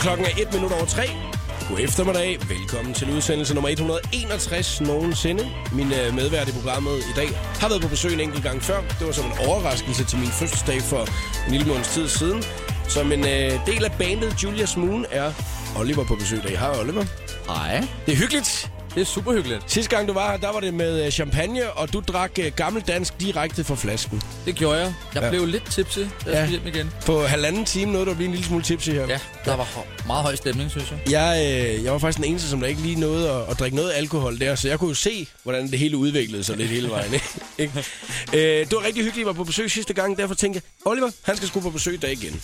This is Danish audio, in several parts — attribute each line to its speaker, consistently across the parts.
Speaker 1: Klokken er et minut over tre. God eftermiddag. Velkommen til udsendelse nummer 161 nogensinde. Min øh, medvært i programmet i dag har været på besøg en enkelt gang før. Det var som en overraskelse til min fødselsdag for en lille måneds tid siden. Som en øh, del af bandet Julius Moon er Oliver på besøg i dag. Hej Oliver.
Speaker 2: Hej.
Speaker 1: Det er hyggeligt.
Speaker 2: Det er super hyggeligt.
Speaker 1: Sidste gang du var her, der var det med øh, champagne, og du drak øh, gammeldansk direkte fra flasken.
Speaker 2: Det gjorde jeg. Jeg
Speaker 1: Ja.
Speaker 2: ja. blev lidt tipsy, da jeg
Speaker 1: Ja.
Speaker 2: ja. skulle hjem igen.
Speaker 1: På halvanden time nåede du at blive en lille smule tipsy her.
Speaker 2: Ja, der var hø- meget høj stemning, synes jeg.
Speaker 1: Jeg, øh, jeg var faktisk den eneste, som der ikke lige nåede at, at drikke noget alkohol der, så jeg kunne jo se, hvordan det hele udviklede sig lidt hele vejen. ikke? Øh, det var rigtig hyggeligt, at var på besøg sidste gang, derfor tænkte jeg, Oliver, han skal sgu på besøg der igen.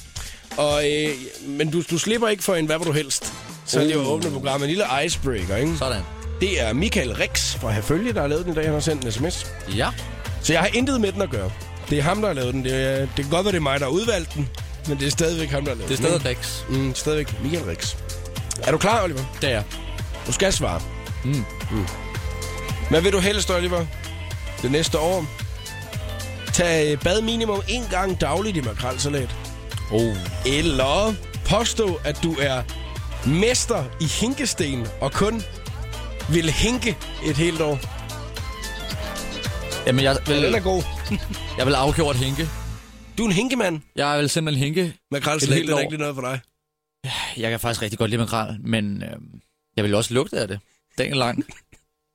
Speaker 1: Og, øh, men du, du slipper ikke for en hvad vil du helst. Så uh. det var åbne programmet. En lille icebreaker, ikke?
Speaker 2: Sådan.
Speaker 1: Det er Michael Rix fra Herfølge, der har lavet den i dag. Han har sendt en sms.
Speaker 2: Ja.
Speaker 1: Så jeg har intet med den at gøre. Det er ham, der har lavet den. Det, er, det kan godt være, det er mig, der har udvalgt den, men det er stadigvæk ham, der har lavet
Speaker 2: Det er
Speaker 1: den.
Speaker 2: stadig Rex.
Speaker 1: stadig... Mm, stadigvæk Michael Rix. Er du klar, Oliver?
Speaker 2: Det er.
Speaker 1: Du skal svare. Mm. Mm. Hvad vil du helst, Oliver? Det næste år? Tag øh, bad minimum en gang dagligt i makrelsalat.
Speaker 2: Oh.
Speaker 1: Eller påstå, at du er mester i hinkesten og kun vil hinke et helt år.
Speaker 2: Jamen, jeg vil,
Speaker 1: Ja, den er god.
Speaker 2: jeg vil afgjort hinke.
Speaker 1: Du er en hinkemand.
Speaker 2: Jeg vil simpelthen hinke.
Speaker 1: Makrelsalat, det
Speaker 2: Et helt
Speaker 1: er
Speaker 2: år.
Speaker 1: ikke lige noget for dig.
Speaker 2: Jeg kan faktisk rigtig godt lide makrel, men øh, jeg vil også lugte af det. Dagen lang.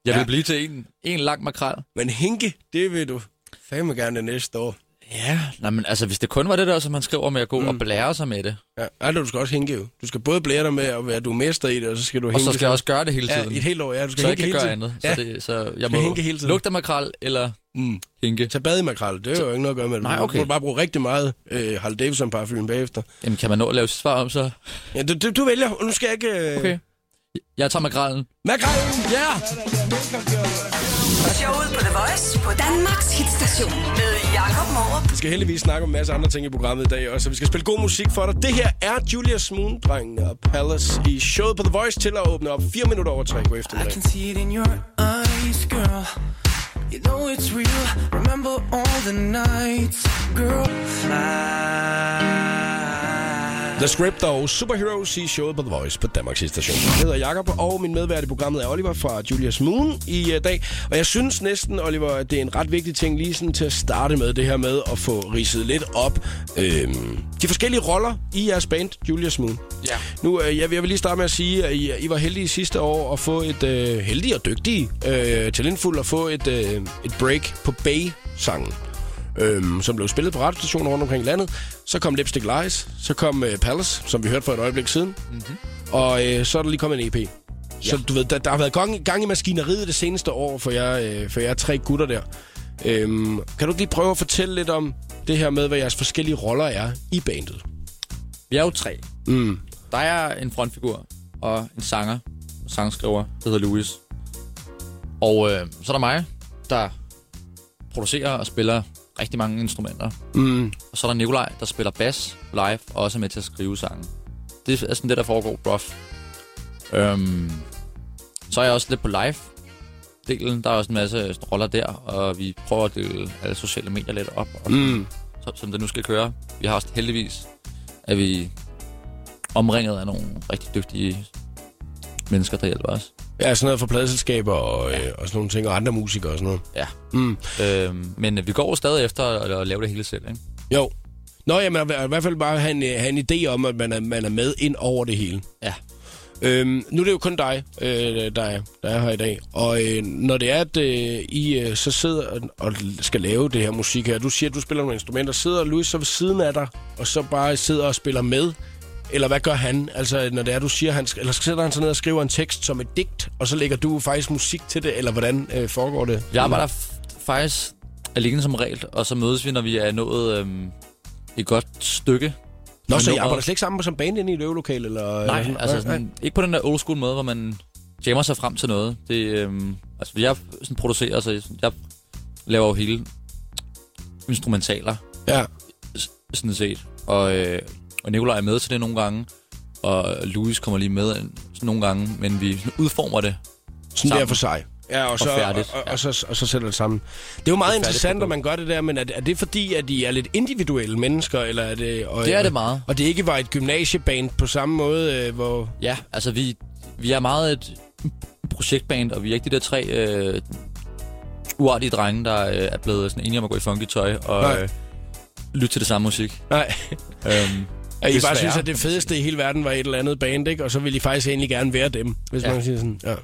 Speaker 2: Jeg vil
Speaker 1: Ja.
Speaker 2: blive til en, en lang makrel.
Speaker 1: Men hinke, det vil du fandme gerne det næste år.
Speaker 2: Ja. Nej, men altså, hvis det kun var det der, som man skriver med at gå mm. og blære sig med det,
Speaker 1: Ja, altså, du skal også hinke jo. Du skal både blære dig med, og være du er mester i det, og så skal du
Speaker 2: og
Speaker 1: hinke.
Speaker 2: så skal jeg også gøre det hele
Speaker 1: ja,
Speaker 2: tiden.
Speaker 1: i et helt år, ja. Du skal
Speaker 2: så jeg
Speaker 1: hinke
Speaker 2: kan
Speaker 1: hele
Speaker 2: gøre
Speaker 1: tiden.
Speaker 2: andet.
Speaker 1: Ja.
Speaker 2: Så, det, så jeg
Speaker 1: skal
Speaker 2: må
Speaker 1: hinke hele tiden.
Speaker 2: lugte af makrel eller
Speaker 1: Mm.
Speaker 2: hinke.
Speaker 1: Tag bad i makrel, det er jo ikke noget at gøre med det.
Speaker 2: Nej, okay.
Speaker 1: Du kan bare bruge rigtig meget øh, Harley Davidson parfume bagefter.
Speaker 2: Jamen, kan man nå at lave et svar om så?
Speaker 1: Ja, du, du, du vælger, og nu skal jeg ikke... Øh...
Speaker 2: Okay. Jeg tager makrallen.
Speaker 1: Makrelen!
Speaker 2: Ja! Yeah!
Speaker 3: Showet på The Voice på Danmarks hitstation med Jakob Morup.
Speaker 1: Vi skal heldigvis snakke om en masse andre ting i programmet i dag også, så vi skal spille god musik for dig. Det her er Julia Smoon, drengene og Palace i showet på The Voice til at åbne op 4 minutter over 3 på
Speaker 4: I
Speaker 1: eftermiddag.
Speaker 4: can see it in your eyes, girl. You know it's real. Remember all the nights, girl. I,
Speaker 1: The Script og Superheroes i showet på The Voice på Danmarks station. Jeg hedder Jakob, og min medvært i programmet er Oliver fra Julius Moon i uh, dag. Og jeg synes næsten, Oliver, at det er en ret vigtig ting lige sådan til at starte med det her med at få ridset lidt op øhm, de forskellige roller i jeres band Julius Moon.
Speaker 2: Ja.
Speaker 1: Nu, øh, jeg, jeg vil lige starte med at sige, at I, I var heldige sidste år at få et øh, heldige og dygtige, øh, talentfuldt at få et, øh, et break på Bay-sangen. Øhm, som blev spillet på radiostationer rundt omkring i landet. Så kom Lipstick Lies, så kom øh, Palace, som vi hørte for et øjeblik siden. Mm-hmm. Og øh, så er der lige kommet en EP. Ja. Så du ved, der, der har været gang, gang i maskineriet det seneste år for jer, øh, for jer tre gutter der. Øhm, kan du ikke lige prøve at fortælle lidt om det her med, hvad jeres forskellige roller er i bandet?
Speaker 2: Vi er jo tre.
Speaker 1: Mm.
Speaker 2: Der er en frontfigur og en sanger og sangskriver, der hedder Louis. Og øh, så er der mig, der producerer og spiller rigtig mange instrumenter.
Speaker 1: Mm.
Speaker 2: Og så er der Nikolaj, der spiller bas live og også er med til at skrive sangen. Det er sådan det, der foregår rough. Øhm, så er jeg også lidt på live delen. Der er også en masse sådan roller der, og vi prøver at dele alle sociale medier lidt op. Og
Speaker 1: Mm.
Speaker 2: som, som det nu skal køre. Vi har også heldigvis, at vi omringet af nogle rigtig dygtige mennesker, der hjælper os.
Speaker 1: Ja, sådan noget for pladeselskaber og, øh, og sådan nogle ting, og andre musikere og sådan noget.
Speaker 2: Ja.
Speaker 1: Mm.
Speaker 2: Øhm, men øh, vi går jo stadig efter at, at lave det hele selv, ikke?
Speaker 1: Jo. Nå, jamen, og i hvert fald bare have en, øh, have en idé om, at man er, man er med ind over det hele.
Speaker 2: Ja.
Speaker 1: Øhm, nu er det jo kun dig, øh, der, er, der er her i dag. Og øh, når det er, at øh, I øh, så sidder og, og skal lave det her musik her, du siger, at du spiller nogle instrumenter, sidder Louis så ved siden af dig, og så bare sidder og spiller med? Eller hvad gør han? Altså, når det er, du siger, han, sk- eller sidder han så ned og skriver en tekst som et digt, og så lægger du faktisk musik til det, eller hvordan øh, foregår det?
Speaker 2: Vi arbejder f- faktisk alene som regel, og så mødes vi, når vi er nået øhm, et godt stykke.
Speaker 1: Nå, så I
Speaker 2: nummeret.
Speaker 1: arbejder slet ikke sammen som band inde i et øvelokale? Eller,
Speaker 2: Nej,
Speaker 1: eller
Speaker 2: altså sådan, ikke på den der old school måde, hvor man jammer sig frem til noget. Det, øhm, altså, jeg sådan producerer, så jeg, jeg laver jo hele instrumentaler.
Speaker 1: Ja,
Speaker 2: sådan set. Og, øh, og Nikolaj er med til det nogle gange, og Louis kommer lige med sådan nogle gange, men vi sådan udformer det
Speaker 1: sådan
Speaker 2: Sammen.
Speaker 1: der for sig. Ja, og, så, og,
Speaker 2: færdigt.
Speaker 1: og, og, så, og så sætter det sammen. Det er jo meget
Speaker 2: færdigt
Speaker 1: interessant, at
Speaker 2: produkt.
Speaker 1: man gør det der, men er, er det fordi, at de er lidt individuelle mennesker? Eller er det, og,
Speaker 2: Det er det meget.
Speaker 1: Og det ikke var et gymnasieband på samme måde, øh, hvor...
Speaker 2: Ja, altså vi, vi er meget et projektband, og vi er ikke de der tre øh, uartige drenge, der øh, er blevet sådan enige om at gå i funky tøj og
Speaker 1: Nej.
Speaker 2: øh, lytte til det samme musik.
Speaker 1: Nej,
Speaker 2: Øhm,
Speaker 1: at I bare
Speaker 2: Desværre.
Speaker 1: synes, at det fedeste i hele verden var et eller andet band, ikke? Og så ville I faktisk egentlig gerne være dem, hvis
Speaker 2: Ja.
Speaker 1: man siger sådan. Ja.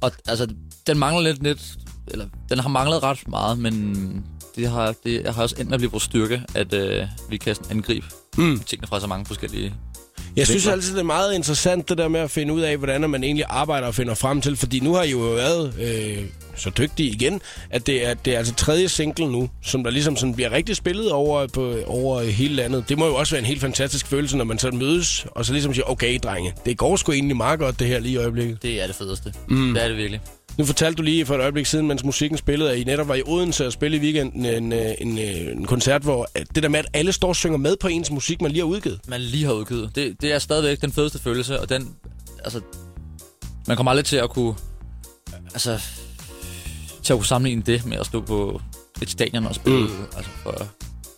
Speaker 2: og altså, den mangler lidt, lidt, eller den har manglet ret meget, men det har, det har også endt med at blive vores styrke, at øh, vi kan sådan angribe mm. tingene fra så mange forskellige
Speaker 1: Jeg synes
Speaker 2: Vinkler.
Speaker 1: altid, det er meget interessant, det der med at finde ud af, hvordan man egentlig arbejder og finder frem til. Fordi nu har I jo været øh, så dygtige igen, at det er, det er altså tredje single nu, som der ligesom sådan bliver rigtig spillet over, på, over hele landet. Det må jo også være en helt fantastisk følelse, når man så mødes, og så ligesom siger, okay drenge, det går sgu egentlig meget godt det her lige i øjeblikket.
Speaker 2: Det er det fedeste. Mm. Det er det virkelig.
Speaker 1: Nu fortalte du lige for et øjeblik siden, mens musikken spillede, at I netop var i Odense og spille i weekenden en, øh, en, øh, en koncert, hvor at det der med, at alle står og synger med på ens musik, man lige har udgivet.
Speaker 2: Man lige har udgivet. Det, det er stadigvæk den fedeste følelse, og den... Altså, man kommer aldrig til at kunne... Altså, til at kunne sammenligne det med at stå på et stadion og spille. Mm. Altså, for,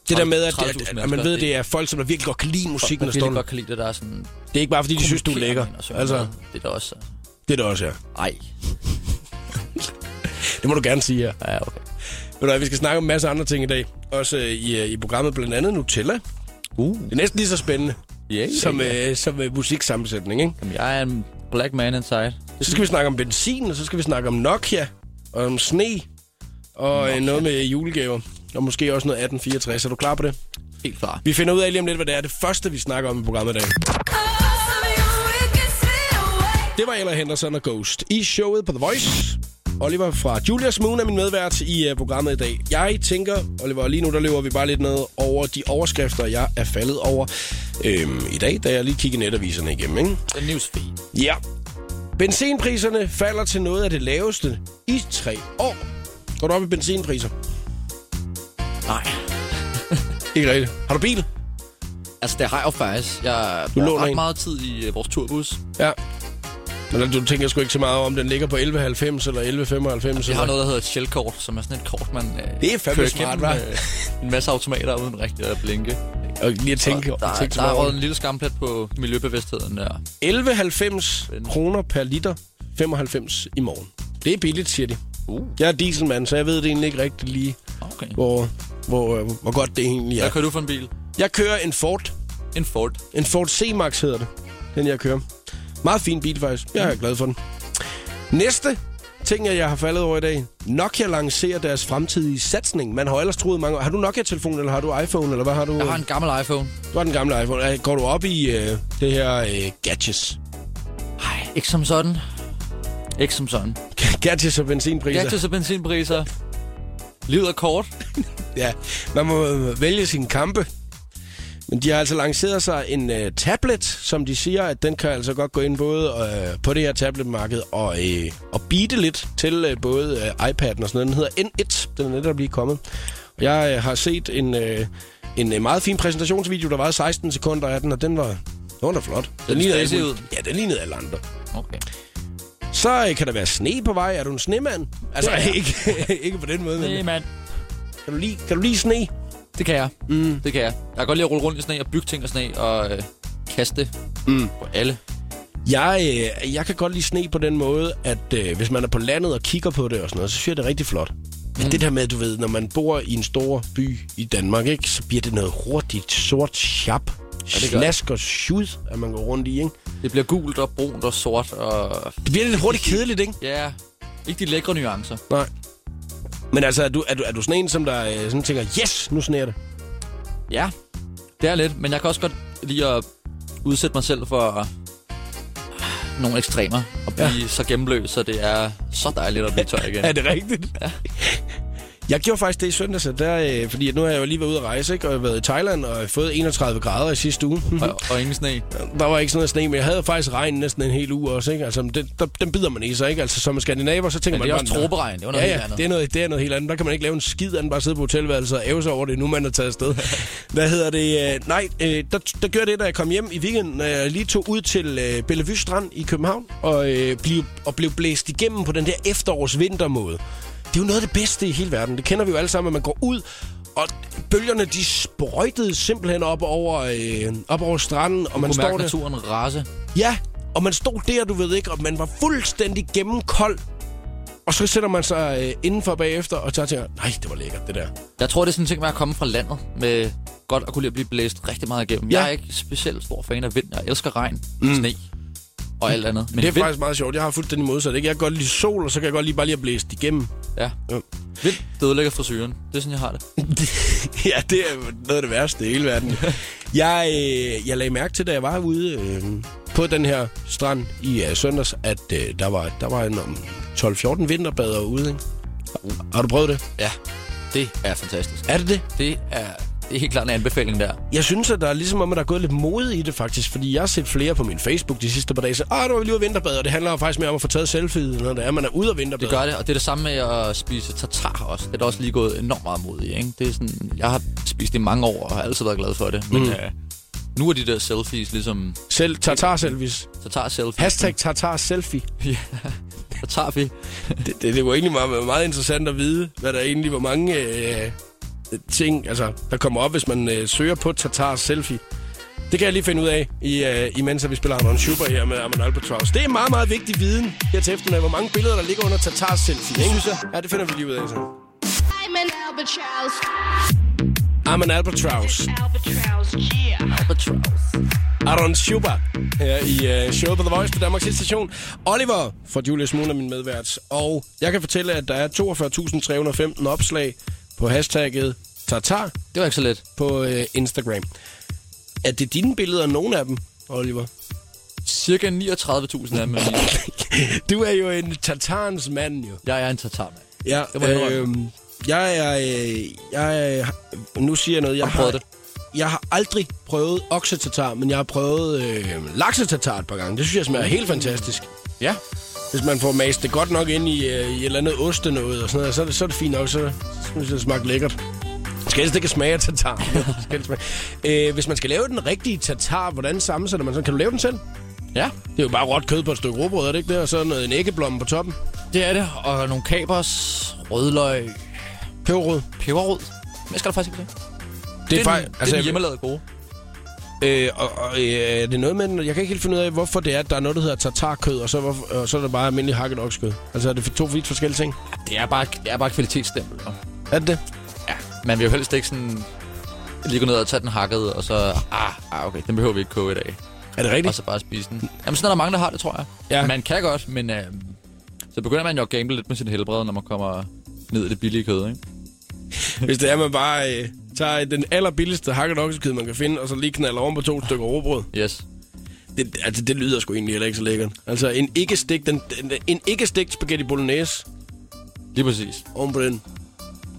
Speaker 1: Det der med, at,
Speaker 2: 30.000
Speaker 1: at, at, at
Speaker 2: mennesker,
Speaker 1: man ved, det er folk, som der virkelig godt kan lide musikken, der
Speaker 2: og
Speaker 1: står
Speaker 2: virkelig godt kan lide det, der er sådan...
Speaker 1: Det er ikke bare, fordi de synes, du er lækker.
Speaker 2: Altså.
Speaker 1: Altså,
Speaker 2: Det er da også... øh,
Speaker 1: det er det også, ja.
Speaker 2: Ej.
Speaker 1: Det må du gerne sige, ja.
Speaker 2: Ja, okay.
Speaker 1: Ved du hvad, vi skal snakke om en masse andre ting i dag. Også øh, i, øh, i programmet, blandt andet Nutella. Det
Speaker 2: Uh.
Speaker 1: er næsten lige så spændende
Speaker 2: Yeah,
Speaker 1: som, øh, som øh, musiksammensætning, ikke?
Speaker 2: Jamen, jeg er en black man inside.
Speaker 1: Så skal vi snakke om benzin, og så skal vi snakke om Nokia, og om sne, og øh, noget med julegaver. Og måske også noget 1864. Er du klar på det?
Speaker 2: Helt klar.
Speaker 1: Vi finder ud af lige om lidt, hvad det er det første, vi snakker om i programmet i dag. Det var Ella Henderson og Ghost i showet på The Voice. Oliver fra Julius Moon er min medvært i uh, programmet i dag. Jeg tænker, Oliver, lige nu der løber vi bare lidt ned over de overskrifter, jeg er faldet over øhm, i dag, da jeg lige kigger netaviserne igennem. Ikke?
Speaker 2: The newsfeed.
Speaker 1: Ja. Benzinpriserne falder til noget af det laveste i tre år. Går du op i benzinpriser?
Speaker 2: Nej.
Speaker 1: Ikke rigtigt. Har du bil?
Speaker 2: Altså, det har jeg jo faktisk. Jeg
Speaker 1: Du
Speaker 2: bruger
Speaker 1: låner
Speaker 2: ret
Speaker 1: en.
Speaker 2: meget tid i øh, vores turbus.
Speaker 1: Ja. Men altså, du tænker sgu ikke så meget om, den ligger på 11,90 eller 11,95.
Speaker 2: Vi
Speaker 1: eller-
Speaker 2: har noget, der hedder et shellkort, som er sådan et kort, man øh,
Speaker 1: Det er fandme
Speaker 2: kører
Speaker 1: smart,
Speaker 2: igennem,
Speaker 1: hva'?
Speaker 2: øh, en masse automater uden rigtig at blinke.
Speaker 1: Og lige at tænke,
Speaker 2: Og der,
Speaker 1: tænke så
Speaker 2: der er
Speaker 1: meget over
Speaker 2: røget
Speaker 1: det.
Speaker 2: en lille skamplet på miljøbevidstheden der.
Speaker 1: 11,90 kroner per liter, 95 i morgen. Det er billigt, siger de.
Speaker 2: Uh.
Speaker 1: Jeg er dieselmand, så jeg ved det egentlig ikke rigtig lige,
Speaker 2: Okay.
Speaker 1: hvor, hvor, øh, hvor godt det egentlig
Speaker 2: Hvad
Speaker 1: er.
Speaker 2: kører du for en bil?
Speaker 1: Jeg kører en Ford.
Speaker 2: En Ford.
Speaker 1: En Ford C-Max hedder det, den jeg kører. Meget fin bil faktisk.
Speaker 2: Mm.
Speaker 1: Jeg er glad for den. Næste ting, jeg har faldet over i dag. Nokia lancerer deres fremtidige satsning. Man har jo ellers troet mange år. Har du Nokia-telefon, eller har du iPhone, eller hvad har du?
Speaker 2: Jeg har en gammel iPhone.
Speaker 1: Du har den gamle iPhone. Øh, Går du op i øh, det her øh, gadgets?
Speaker 2: Ej, ikke som sådan. Ikke som sådan.
Speaker 1: Gadgets og benzinpriser.
Speaker 2: Gadgets og benzinpriser. Livet er kort.
Speaker 1: Ja, man må øh, vælge sine kampe. Men de har altså lanceret sig en øh, tablet, som de siger, at den kan altså godt gå ind både øh, på det her tabletmarked og, øh, og beate lidt til øh, både øh, iPad'en og sådan noget. Den hedder N1, den er netop lige kommet. Og jeg øh, har set en, øh, en øh, meget fin præsentationsvideo, der var 16 sekunder af den, og den var, den var da flot.
Speaker 2: Den
Speaker 1: alle
Speaker 2: ser
Speaker 1: mulige-
Speaker 2: ud.
Speaker 1: Ja, den lignede alle andre.
Speaker 2: Okay.
Speaker 1: Så øh, kan der være sne på vej. Er du en snemand? Altså
Speaker 2: Det er jeg.
Speaker 1: ikke, ikke på den måde, men
Speaker 2: Det, mand.
Speaker 1: kan du lide, kan du lide sne?
Speaker 2: Det kan jeg. Mm. Det kan jeg. Jeg kan godt lide at rulle rundt i sne og bygge ting af sne og øh, kaste mm. på alle.
Speaker 1: Jeg, øh, jeg kan godt lide sne på den måde, at øh, hvis man er på landet og kigger på det og sådan noget, så synes jeg, det er rigtig flot. Men mm. det der med, du ved, når man bor i en stor by i Danmark, ikke, så bliver det noget hurtigt, sort, chap,
Speaker 2: det gør
Speaker 1: slask og sjud, at man går rundt i. Ikke?
Speaker 2: Det bliver gult og brunt og sort og...
Speaker 1: Det bliver lidt hurtigt kedeligt, ikke?
Speaker 2: Ja, ikke de lækre nuancer.
Speaker 1: Nej. Men altså, er du, er du, er du sådan en, som der øh, sådan tænker, yes, nu sneer det?
Speaker 2: Ja, det er lidt, men jeg kan også godt lide at udsætte mig selv for øh, nogle ekstremer og blive ja. så gennemløs, så det er så dejligt at blive tør igen.
Speaker 1: Er det rigtigt? Ja. Jeg gjorde faktisk det i søndags, at der, øh, fordi at nu har jeg jo lige været ude at rejse, ikke? og jeg har været i Thailand og fået 31 grader i sidste uge.
Speaker 2: Og, og ingen sne.
Speaker 1: der var ikke sådan noget sne, men jeg havde faktisk regn næsten en hel uge også. Ikke? Altså, det, der, den bider man i sig, ikke? Altså, som skandinaver, så tænker
Speaker 2: Men det er
Speaker 1: man...
Speaker 2: også
Speaker 1: bare, "Nå."
Speaker 2: troberegn. Det var noget
Speaker 1: ja, ja,
Speaker 2: helt andet.
Speaker 1: Det er, noget, det er noget helt andet. Der kan man ikke lave en skid andet, bare sidde på hotelværelset og æve sig over det, nu man er taget afsted. Hvad hedder det? Øh, Nej, øh, der, der gjorde det, da jeg kom hjem i weekenden, når jeg lige tog ud til øh, Bellevue Strand i København og, øh, blev, og blev blæst igennem på den der efterårs-vintermåde. Det er jo noget af det bedste i hele verden. Det kender vi jo alle sammen, at man går ud, og bølgerne de sprøjtede simpelthen op over, øh, op over stranden, og man
Speaker 2: Man kunne
Speaker 1: står
Speaker 2: mærke
Speaker 1: der.
Speaker 2: naturen rase.
Speaker 1: Ja, og man stod der, du ved ikke, og man var fuldstændig gennemkold. Og så sætter man sig øh, indenfor bagefter, og så tænker, nej, det var lækkert, det der.
Speaker 2: Jeg tror, det er sådan en ting med at komme fra landet, med godt at kunne lide at blive blæst rigtig meget igennem.
Speaker 1: Ja.
Speaker 2: Jeg er ikke specielt stor fan af vind. Jeg elsker regn, mm. sne og alt andet. Men
Speaker 1: Det er
Speaker 2: vind,
Speaker 1: faktisk meget sjovt. Jeg har fuldstændig modsat, ikke? Jeg kan godt lide sol, og så kan jeg godt lige bare lige at blæse det igennem.
Speaker 2: ja.
Speaker 1: Ja.
Speaker 2: vind det ødelægger frisyren. Det er sådan, jeg har det.
Speaker 1: ja, det er noget af det værste i hele verden. jeg, øh, jeg lagde mærke til, da jeg var ude øh, på den her strand i øh, søndags, at øh, der var, der var en om 12-14 vinterbadere ude, ikke? Har du prøvet det?
Speaker 2: Ja, det er fantastisk.
Speaker 1: Er det det?
Speaker 2: Det er, det er helt klart en anbefaling der.
Speaker 1: Jeg synes, at der er ligesom om, at der er gået lidt mode i det faktisk, fordi jeg har set flere på min Facebook de sidste par dage, så ah, nu er vi lige ude at vinterbade, og det handler jo faktisk mere om at få taget selfie, når det er, man er ude at vinterbade.
Speaker 2: Det gør det, og det er det samme med at spise tartar også. Det er da også lige gået enormt meget mod i, ikke? Det er sådan, jeg har spist det i mange år, og har altid været glad for det. Men mm. øh, nu er de der selfies ligesom
Speaker 1: Selv tartar-selfies.
Speaker 2: tartar-selfies.
Speaker 1: Hashtag tartar-selfie.
Speaker 2: ja, tartar-fi.
Speaker 1: Det, det, det var egentlig meget, meget interessant at vide, hvad der egentlig, hvor mange øh, ting, altså, der kommer op, hvis man øh, søger på tartar-selfie. Det kan jeg lige finde ud af, i, øh, imens at vi spiller Arnon Schubert her med Armand Albatross. Det er meget, meget vigtig viden her til eftermiddag, hvor mange billeder, der ligger under tartar-selfie. Det synes jeg. Ja, det finder vi lige ud af, så.
Speaker 5: I'm an albatross.
Speaker 1: Armand Albatross.
Speaker 5: Albatross, yeah.
Speaker 2: Albatross.
Speaker 1: Aaron Schubert her i uh, showet på The Voice på Danmarks Hits station. Oliver fra Julius Moon er min medvært, og jeg kan fortælle, at der er 42.315 opslag på hashtagget Tatar
Speaker 2: Det var ikke så let.
Speaker 1: på uh, Instagram. Er det dine billeder, nogle af dem, Oliver?
Speaker 2: Cirka 39.000 af dem er mine.
Speaker 1: Du er jo en tatarens mand, jo.
Speaker 2: Jeg er en tartar, mand.
Speaker 1: Ja, øhm,
Speaker 2: Det må jeg indrømme.
Speaker 1: jeg er... Øh, jeg er, øh, nu siger jeg noget. Jeg
Speaker 2: Har du prøvet det?
Speaker 1: Jeg har aldrig prøvet oksetatar, men jeg har prøvet øh, laksetatar et par gange. Det synes jeg smager helt fantastisk.
Speaker 2: Ja.
Speaker 1: Hvis man får mast det godt nok ind i, øh, i et eller andet oste noget og sådan noget, så er det, så er det fint nok, så synes jeg, det smager lækkert. Det Skal helst ikke smage af tatar. Det skal helst smage. Øh, hvis man skal lave den rigtige tatar, hvordan sammensætter man så? Kan du lave den selv?
Speaker 2: Ja,
Speaker 1: Det er jo bare råt kød på et stykke råbrød, er det ikke det? Og så noget, en æggeblomme på toppen.
Speaker 2: det er det. Og nogle kapers, rødløg,
Speaker 1: Peberrod.
Speaker 2: peberrod. Men jeg skal der faktisk ikke det.
Speaker 1: Det
Speaker 2: er,
Speaker 1: fej-
Speaker 2: den, altså, det er den hjemmelavede gode.
Speaker 1: Øh, og, og øh, er det noget med, jeg kan ikke helt finde ud af, hvorfor det er, at der er noget, der hedder tartarkød, og så, hvorfor, og så er der bare almindelig hakket oksekød. Altså er det to vidt forskellige ting?
Speaker 2: Det er bare, det er bare et kvalitetsstempel. jo.
Speaker 1: Er det det?
Speaker 2: Ja, man vil jo helst ikke sådan lige gå ned og tage den hakkede, og så, ah, ah okay, den behøver vi ikke koge i dag.
Speaker 1: Er det
Speaker 2: Og
Speaker 1: rigtigt?
Speaker 2: så bare spise den. Jamen sådan er der mange, der har det, tror jeg.
Speaker 1: Ja.
Speaker 2: Man kan godt, men øh, så begynder man jo at gamble lidt med sit helbred, når man kommer ned i det billige kød, ikke?
Speaker 1: Hvis det er, man bare øh, tager den allerbilligste hakket oksekød, man kan finde, og så lige knalder oven på to stykker råbrød.
Speaker 2: Yes.
Speaker 1: Det, altså, det lyder sgu egentlig heller ikke så lækkert. Altså, en ikke stegt, den, den, en ikke stegt spaghetti bolognese
Speaker 2: Lige præcis.
Speaker 1: oven på den.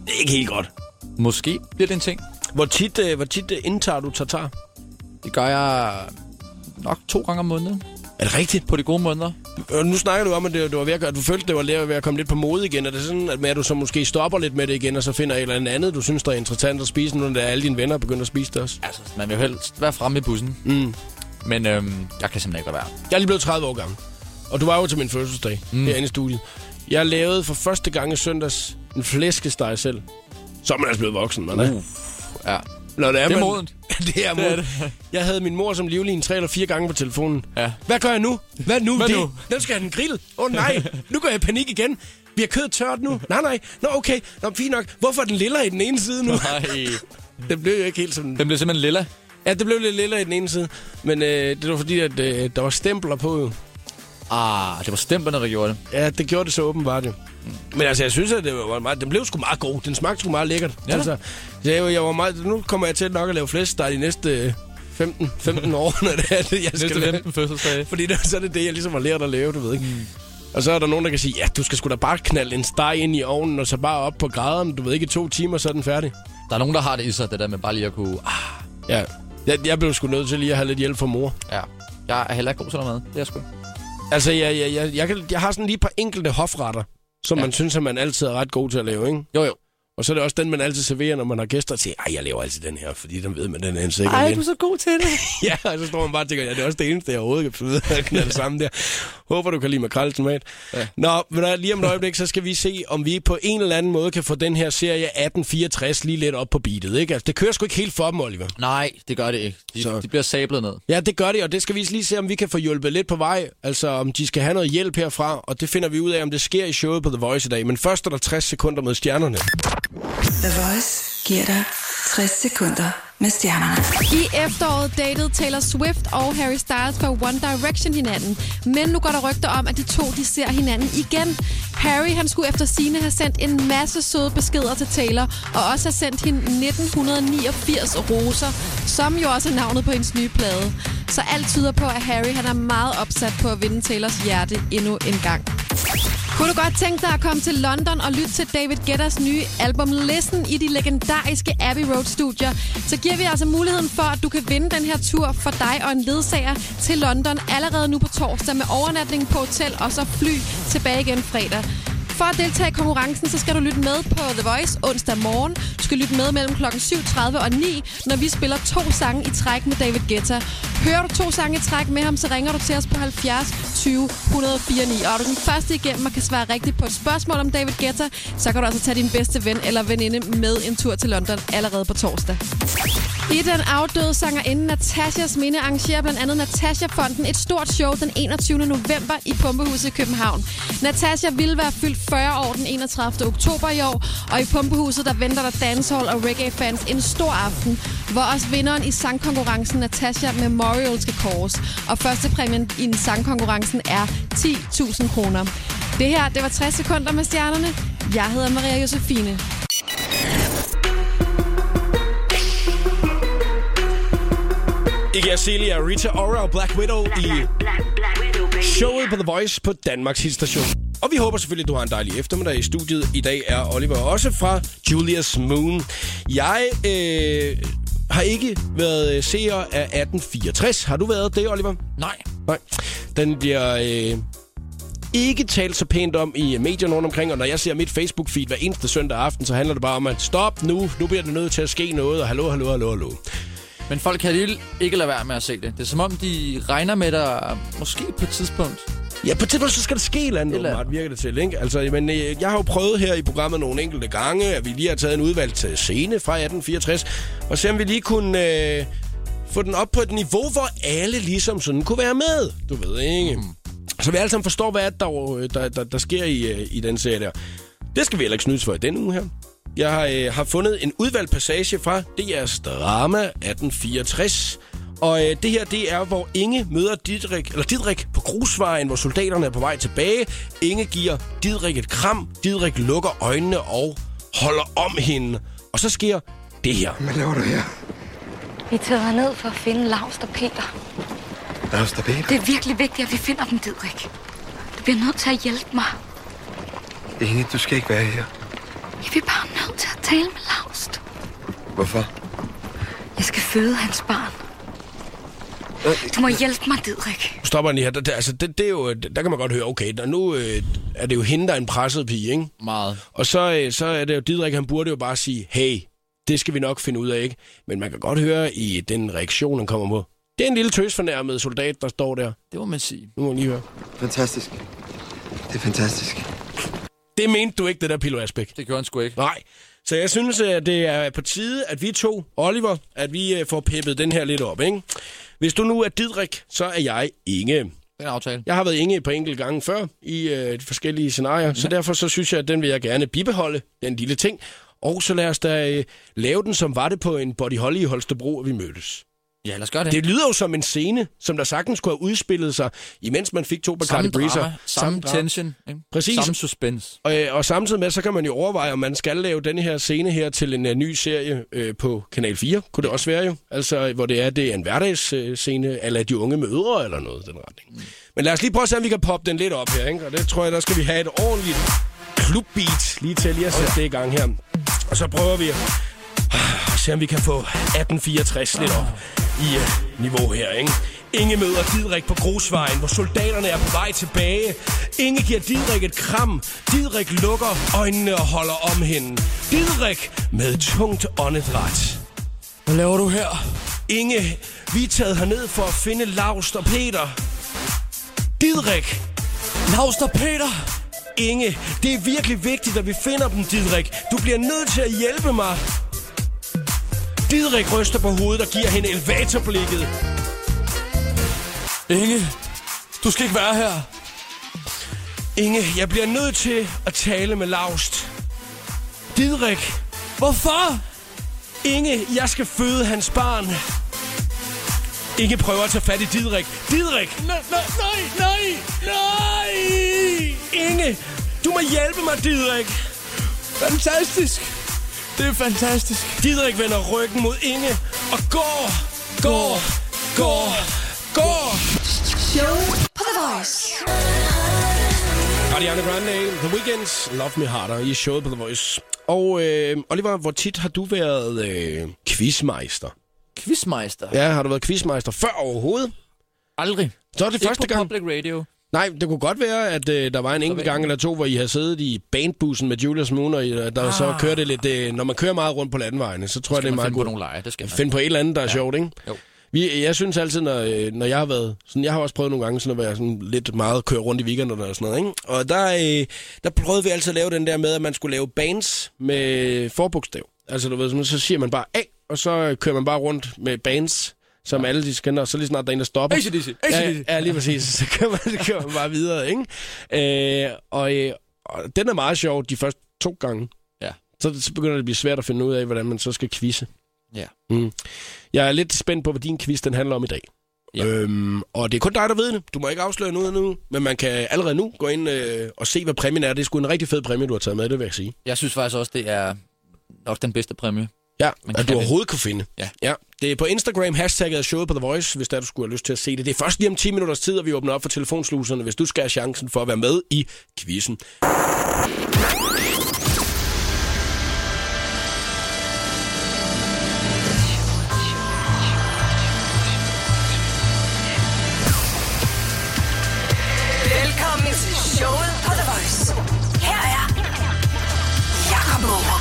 Speaker 1: Det er ikke helt godt.
Speaker 2: Måske bliver det en ting.
Speaker 1: Hvor tit, øh, hvor tit øh, indtager du tartar?
Speaker 2: Det gør jeg nok to gange om måneden.
Speaker 1: Er det rigtigt?
Speaker 2: På de gode måneder.
Speaker 1: Og Øh, nu snakker du om, at det, det var ved at gøre, at du følte, det var ved at være kommet lidt på mode igen. Er det sådan, at, med, at du så måske stopper lidt med det igen, og så finder et eller andet andet, du synes, der er interessant at spise, nu når alle dine venner begynder at spise det også?
Speaker 2: Altså, man vil jo helst være fremme i bussen. Mm. Men øhm, jeg kan simpelthen ikke lade være.
Speaker 1: Jeg er lige blevet 30 år gammel, og du var jo til min fødselsdag mm. herinde i studiet. Jeg lavede for første gang i søndags en flæskesteg selv. Så er man altså blevet voksen, man. Uh.
Speaker 2: Ja.
Speaker 1: Når det er,
Speaker 2: Det er
Speaker 1: man-
Speaker 2: modent.
Speaker 1: det er
Speaker 2: Det er
Speaker 1: modent. Jeg havde min mor som livlin tre eller fire gange på telefonen.
Speaker 2: Ja.
Speaker 1: Hvad gør jeg nu? Hvad nu?
Speaker 2: Hvad
Speaker 1: Det-
Speaker 2: nu?
Speaker 1: Nu skal jeg have den grillet. Åh oh, nej, nu går jeg i panik igen. Bliver kødet tørt nu? Nej, nej. Nå, okay. Nå, fint nok. Hvorfor er den lilla i den ene side nu?
Speaker 2: Nej.
Speaker 1: det blev jo ikke helt sådan...
Speaker 2: Den bliver simpelthen lilla.
Speaker 1: Ja, det blev lidt lilla i den ene side. Men øh, det var fordi, at øh, der var stempler på jo.
Speaker 2: Ah, det var stemplerne, der gjorde det.
Speaker 1: Ja, det gjorde det så åbenbart jo. Men altså, jeg synes, at det var meget, den blev sgu meget god. Den smagte sgu meget lækkert.
Speaker 2: Ja da.
Speaker 1: altså, så jeg, jeg var meget, nu kommer jeg til nok at lave flæskesteg de næste øh, 15, 15 år, når det er det, jeg skal
Speaker 2: Næste
Speaker 1: lave.
Speaker 2: 15 fødselsdage.
Speaker 1: Fordi det, så er det det, jeg ligesom har lært at lave, du ved ikke. Mm. Og så er der nogen, der kan sige, ja, du skal sgu da bare knalde en steg ind i ovnen, og så bare op på graderne. Du ved ikke, i to timer, så er den færdig.
Speaker 2: Der er nogen, der har det i sig, det der med bare lige at kunne... Ah,
Speaker 1: Ja. Jeg, jeg blev sgu nødt til lige at have lidt hjælp fra mor.
Speaker 2: ja. Jeg er heller ikke god til noget mad. Det er jeg sgu.
Speaker 1: Altså, jeg, jeg, jeg, jeg, kan, jeg har sådan lige et par enkelte hofretter, som ja. man synes, at man altid er ret god til at lave, ikke?
Speaker 2: Jo, jo.
Speaker 1: Og så er det også den, man altid serverer, når man har gæster, og siger, ej, jeg laver altid den her, fordi den ved man, den er en sikker ven."
Speaker 2: så god til det.
Speaker 1: Ja, og så står man bare og tænker, ja, det er også det eneste, jeg overhovedet kan finde ud af at knalde sammen der. Håber, du kan lide makreltomat. Ja. Nå, men der- lige om et øjeblik, så skal vi se, om vi på en eller anden måde kan få den her serie 1864 lige lidt op på beatet, ikke? Altså, det kører sgu ikke helt for dem, Oliver.
Speaker 2: Nej, det gør det ikke.
Speaker 1: Så-
Speaker 2: De, de bliver sablet ned.
Speaker 1: Ja, det gør det, og det skal vi lige se, om vi kan få hjulpet lidt på vej. Altså, om de skal have noget hjælp herfra, og det finder vi ud af, om det sker i showet på The Voice i dag. Men først er der 60 sekunder med stjernerne.
Speaker 3: The Voice giver dig 60 sekunder med stjernerne.
Speaker 6: I efteråret datede Taylor Swift og Harry Styles fra One Direction hinanden. Men nu går der rygter om, at de to de ser hinanden igen. Harry han skulle efter sine have sendt en masse søde beskeder til Taylor, og også have sendt hende 1989 roser, som jo også er navnet på hendes nye plade. Så alt tyder på, at Harry han er meget opsat på at vinde Taylors hjerte endnu en gang. Kunne du godt tænke dig at komme til London og lytte til David Guettas nye album Listen i de legendariske Abbey Road studier, så giver vi altså muligheden for, at du kan vinde den her tur for dig og en ledsager til London allerede nu på torsdag med overnatning på hotel og så fly tilbage igen fredag. For at deltage i konkurrencen, så skal du lytte med på The Voice onsdag morgen. Du skal lytte med mellem kl. 7.30 og 9, når vi spiller to sange i træk med David Guetta. Hører du to sange i træk med ham, så ringer du til os på 70 20 104 9. Og er du den første igennem og kan svare rigtigt på et spørgsmål om David Guetta, så kan du altså tage din bedste ven eller veninde med en tur til London allerede på torsdag. I den afdøde sangerinde Natashas minde arrangerer blandt andet Natasha-fonden et stort show den 21. november i Pumpehuset i København. Natasha vil være fyldt 40 år den 31. oktober i år, og i Pumpehuset der venter der dancehall og reggae-fans en stor aften, hvor også vinderen i sangkonkurrencen Natasha Memorial skal kåres, og førstepræmien i sangkonkurrencen er 10.000 kroner. Det her, det var 60 sekunder med stjernerne. Jeg hedder Maria Josefine.
Speaker 1: Ikke Celia, Rita Ora og Black Widow i showet på The Voice på Danmarks hitstation. Og vi håber selvfølgelig, at du har en dejlig eftermiddag i studiet. I dag er Oliver også fra Julius Moon. Jeg øh, har ikke været øh, seer af 1864. Har du været det, Oliver?
Speaker 2: Nej.
Speaker 1: Nej. Den bliver øh, ikke talt så pænt om i medierne rundt omkring, og når jeg ser mit Facebook-feed hver eneste søndag aften, så handler det bare om, at stop nu, nu bliver det nødt til at ske noget, og hallo, hallo, hallo, hallo.
Speaker 2: Men folk kan alligevel ikke lade være med at se det. Det er som om, de regner med dig måske på et tidspunkt.
Speaker 1: Ja, på et tidspunkt, så skal der ske et eller andet,
Speaker 2: eller andet.
Speaker 1: åbenbart, virker det til, ikke? Altså, men øh, jeg har jo prøvet her i programmet nogle enkelte gange, at vi lige har taget en udvalgt øh, scene fra 1864, og se om vi lige kunne øh, få den op på et niveau, hvor alle ligesom sådan kunne være med, du ved, ikke? Mm. Så vi alle sammen forstår, hvad der, øh, der, der, der sker i, øh, i den serie der. Det skal vi heller ikke snydes for i denne uge her. Jeg har, øh, har fundet en udvalgt passage fra DR's drama 1864. Og øh, det her, det er, hvor Inge møder Didrik, eller Didrik på grusvejen, hvor soldaterne er på vej tilbage. Inge giver Didrik et kram. Didrik lukker øjnene og holder om hende. Og så sker det her.
Speaker 7: Hvad laver du her?
Speaker 8: Vi tager ned for at finde Lars og Peter.
Speaker 7: Der er Peter.
Speaker 8: Det er virkelig vigtigt, at vi finder dem, Didrik. Du bliver nødt til at hjælpe mig.
Speaker 7: Inge, du skal ikke være her.
Speaker 8: Jeg bliver bare nødt til at tale med Lars.
Speaker 7: Hvorfor?
Speaker 8: Jeg skal føde hans barn.
Speaker 7: Øh.
Speaker 8: Du må hjælpe mig, Didrik.
Speaker 1: Nu stopper den lige her. Der, der, altså, det, det er jo, der kan man godt høre, okay, der, nu øh, er det jo hende, der er en presset pige, ikke?
Speaker 2: Meget.
Speaker 1: Og så, øh, så er det jo Didrik, han burde jo bare sige, hey, det skal vi nok finde ud af, ikke? Men man kan godt høre i den reaktion, han kommer på. Det er en lille tøsfornærmet soldat, der står der.
Speaker 2: Det må man sige.
Speaker 1: Nu må man lige høre.
Speaker 7: Fantastisk. Det er fantastisk.
Speaker 1: Det mente du ikke, det der Pilo Asbæk.
Speaker 2: Det gjorde han sgu ikke.
Speaker 1: Nej. Så jeg synes, at det er på tide, at vi to, Oliver, at vi øh, får peppet den her lidt op, ikke? Hvis du nu er Didrik, så er jeg Inge.
Speaker 2: Den aftale.
Speaker 1: Jeg har været Inge på enkelte gange før i øh, de forskellige scenarier, ja. så derfor så synes jeg, at den vil jeg gerne bibeholde, den lille ting. Og så lad os da øh, lave den, som var det på en Body Holly i Holstebro, at vi mødtes.
Speaker 2: Ja, lad os gøre det.
Speaker 1: Det lyder jo som en scene, som der sagtens kunne have udspillet sig, imens man fik to Bacardi
Speaker 2: samme
Speaker 1: Breezer.
Speaker 2: drama, samme tension. Ikke?
Speaker 1: Præcis.
Speaker 2: Samme suspense.
Speaker 1: Og, øh, og samtidig med, så kan man jo overveje, om man skal lave denne her scene her til en uh, ny serie øh, på Kanal 4. Kunne det også være jo? Altså, hvor det er, det er en hverdagsscene, øh, scene, eller de unge mødre eller noget i den retning. Men lad os lige prøve at se, om vi kan poppe den lidt op her, ikke? Og det tror jeg, der skal vi have et ordentligt klubbeat lige til lige at sætte det i gang her. Og så prøver vi at at se, om vi kan få 1864 lidt op i uh, niveau her, ikke? Inge møder Didrik på grusvejen, hvor soldaterne er på vej tilbage. Inge giver Didrik et kram. Didrik lukker øjnene og holder om hende. Didrik med tungt åndedræt. Hvad laver du her? Inge, vi er taget herned for at finde Laust og Peter. Didrik! Laust og Peter! Inge, det er virkelig vigtigt, at vi finder dem, Didrik. Du bliver nødt til at hjælpe mig. Didrik ryster på hovedet og giver hende elevatorblikket. Inge, du skal ikke være her. Inge, jeg bliver nødt til at tale med Laust. Didrik. Hvorfor? Inge, jeg skal føde hans barn. Inge prøver at tage fat i Didrik. Didrik! Nej, nej, nej, nej! Inge, du må hjælpe mig, Didrik. Fantastisk. Det er fantastisk. Didrik vender ryggen mod Inge og går, går, går, går.
Speaker 8: På The Voice.
Speaker 1: Ariana Grande, The Weekends, Love Me Harder i showet på The Voice. Og øh, Oliver, hvor tit har du været øh, quizmeister?
Speaker 2: Quizmeister.
Speaker 1: Ja, har du været quizmeister før overhovedet?
Speaker 2: Aldrig.
Speaker 1: Så er det
Speaker 2: Ikke
Speaker 1: første
Speaker 2: på
Speaker 1: gang.
Speaker 2: public radio.
Speaker 1: Nej, det kunne godt være, at øh, der var en enkelt gang eller to, hvor I havde siddet i bandbussen med Julius Moon, og I, der ah. så kørte lidt... Øh, når man kører meget rundt på landevejene, så tror jeg, det er
Speaker 2: Man
Speaker 1: meget
Speaker 2: finder på
Speaker 1: godt.
Speaker 2: nogle leje, det skal man.
Speaker 1: Find på et eller andet, der er ja. sjovt, ikke?
Speaker 2: Jo.
Speaker 1: Vi, jeg synes altid, når, øh, når jeg har været... Sådan, jeg har også prøvet nogle gange sådan at være sådan lidt meget køre rundt i weekenderne og sådan noget, ikke? Og der, øh, der prøvede vi altid at lave den der med, at man skulle lave bands med forbogstav. Altså, du ved, sådan, så siger man bare A, og så kører man bare rundt med bands, som ja. alle de kender, og så lige snart der er en, der stopper.
Speaker 2: AC/DC,
Speaker 1: Ja,
Speaker 2: AC/DC.
Speaker 1: ja, lige præcis. Så kører man, så kører man bare videre, ikke? Øh, og, øh, og den er meget sjov de første to gange.
Speaker 2: Ja.
Speaker 1: Så, så begynder det at blive svært at finde ud af, hvordan man så skal quizze.
Speaker 2: Ja.
Speaker 1: Mm. Jeg er lidt spændt på, hvad din quiz den handler om i dag.
Speaker 2: Ja.
Speaker 1: Øhm, og det er kun dig, der ved det. Du må ikke afsløre noget endnu, men man kan allerede nu gå ind øh, og se, hvad præmien er. Det er sgu en rigtig fed præmie, du har taget med, det vil jeg sige.
Speaker 2: Jeg synes faktisk også, det er nok den bedste præmie.
Speaker 1: Ja, at
Speaker 2: Man kan
Speaker 1: du
Speaker 2: det.
Speaker 1: overhovedet kunne finde.
Speaker 2: Ja.
Speaker 1: ja. Det er på Instagram, hashtagget er showet på The Voice, hvis der du skulle have lyst til at se det. Det er først lige om 10 minutters tid, at vi åbner op for telefonsluserne, hvis du skal have chancen for at være med i quizzen.
Speaker 9: Velkommen til showet på The Voice. Her er Jakob Møller.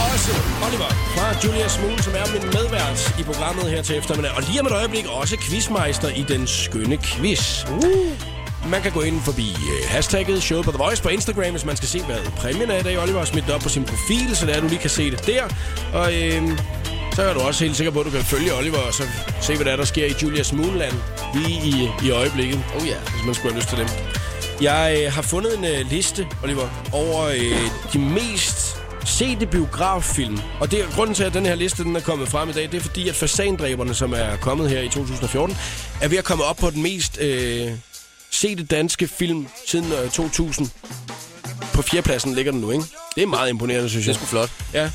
Speaker 1: Og også Oliver fra Julia Smule, som er min medvært i programmet her til eftermiddag. Og lige om et øjeblik også quizmeister i den skønne quiz. Uh. Man kan gå ind forbi øh, hashtagget show på The Voice på Instagram, hvis man skal se, hvad præmien er i dag. Oliver har smidt det op på sin profil, så der du lige kan se det der. Og øhm, så er du også helt sikker på, at du kan følge Oliver og så se, hvad der, er, der sker i Julias Moonland lige i, i øjeblikket. Oh ja. Yeah. Hvis man skulle have lyst til det. Jeg øh, har fundet en øh, liste, Oliver, over øh, de mest sete biograffilm. Og det er grunden til, at den her liste den er kommet frem i dag, det er fordi, at Fasandræberne, som er kommet her i 2014, er ved at komme op på den mest øh, sete danske film siden øh, 2000. På fjerdepladsen ligger den nu, ikke? Det er meget imponerende, synes
Speaker 2: Det er
Speaker 1: jeg.
Speaker 2: sgu flot.
Speaker 1: Ja.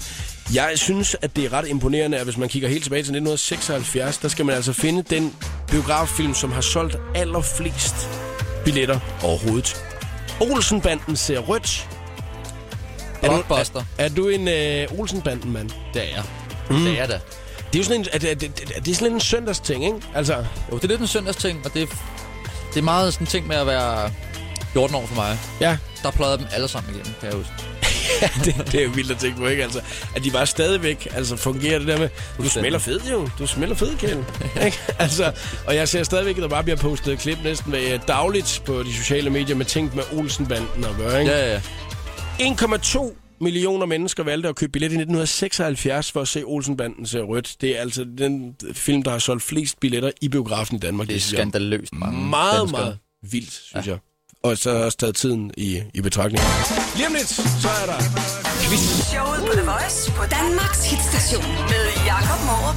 Speaker 1: Jeg synes, at det er ret imponerende, at hvis man kigger helt tilbage til 1976, der skal man altså finde den biograffilm, som har solgt allerflest billetter overhovedet. Olsenbanden ser rødt. Er du,
Speaker 2: Blockbuster.
Speaker 1: er, er du en øh, Olsenbanden-mand?
Speaker 2: Det er jeg. Det er jeg da.
Speaker 1: Det er jo sådan en, er, er, er, er det sådan en søndagsting, ikke? Altså,
Speaker 2: Jo, det er lidt en søndagsting, og det er, det er meget sådan en ting med at være 14 år for mig.
Speaker 1: ja,
Speaker 2: Der plejede dem alle sammen igennem, kan jeg huske.
Speaker 1: det, det er jo vildt at tænke på, ikke? Altså, at de bare stadigvæk altså, fungerer det der med, du
Speaker 2: Fuldstændig.
Speaker 1: smelter fed jo, du smelter fed, Kjell. Ikke? altså, og jeg ser stadigvæk, at der bare bliver postet klip næsten øh, dagligt på de sociale medier med ting med Olsenbanden og gøre, ikke?
Speaker 2: Ja, ja, ja.
Speaker 1: 1,2 millioner mennesker valgte at købe billet i 1976 for at se Olsenbanden ser rødt. Det er altså den film, der har solgt flest billetter i biografen i Danmark.
Speaker 2: Det er
Speaker 1: synes jeg.
Speaker 2: skandaløst mange
Speaker 1: Meget,
Speaker 2: danskere.
Speaker 1: meget vildt, synes ja. jeg. Og så har jeg også taget tiden i, i betragtning. Lige om lidt, så er der quiz.
Speaker 9: Showet på The Voice på Danmarks hitstation med Jakob Morup.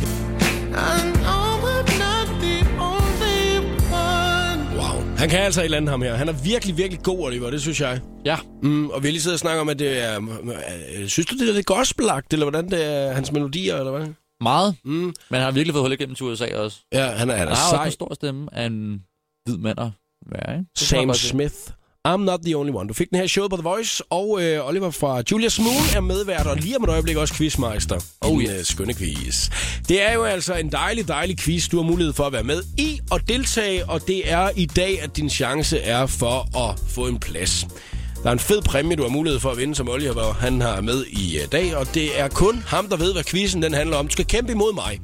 Speaker 1: Wow. Han kan altså et eller andet, ham her. Han er virkelig, virkelig god, Oliver, det synes jeg.
Speaker 2: Ja,
Speaker 1: Mm, og vi har lige siddet og snakket om, at det er... øh, Synes du, det er lidt gospelagt, eller hvordan det er hans melodier, eller hvad?
Speaker 2: meget. Mm. Men han har virkelig fået hul igennem til USA også.
Speaker 1: Ja, han er, han er
Speaker 2: Han har også
Speaker 1: sej.
Speaker 2: en stor stemme af en hvid mand og være, ikke? Det tror jeg
Speaker 1: Sam
Speaker 2: godt, det-
Speaker 1: Smith. I'm not the only one. Du fik den her show på The Voice, og øh, Oliver fra Julia Smule er medvært, og lige om et øjeblik også quizmeister. Og oh, en øh, skønne quiz. Det er jo altså en dejlig, dejlig quiz, du har mulighed for at være med i og deltage, og det er i dag, at din chance er for at få en plads. Der er en fed præmie, du har mulighed for at vinde, som Oliver han har med i øh, dag, og det er kun ham, der ved, hvad quizzen den handler om. Du skal kæmpe imod mig.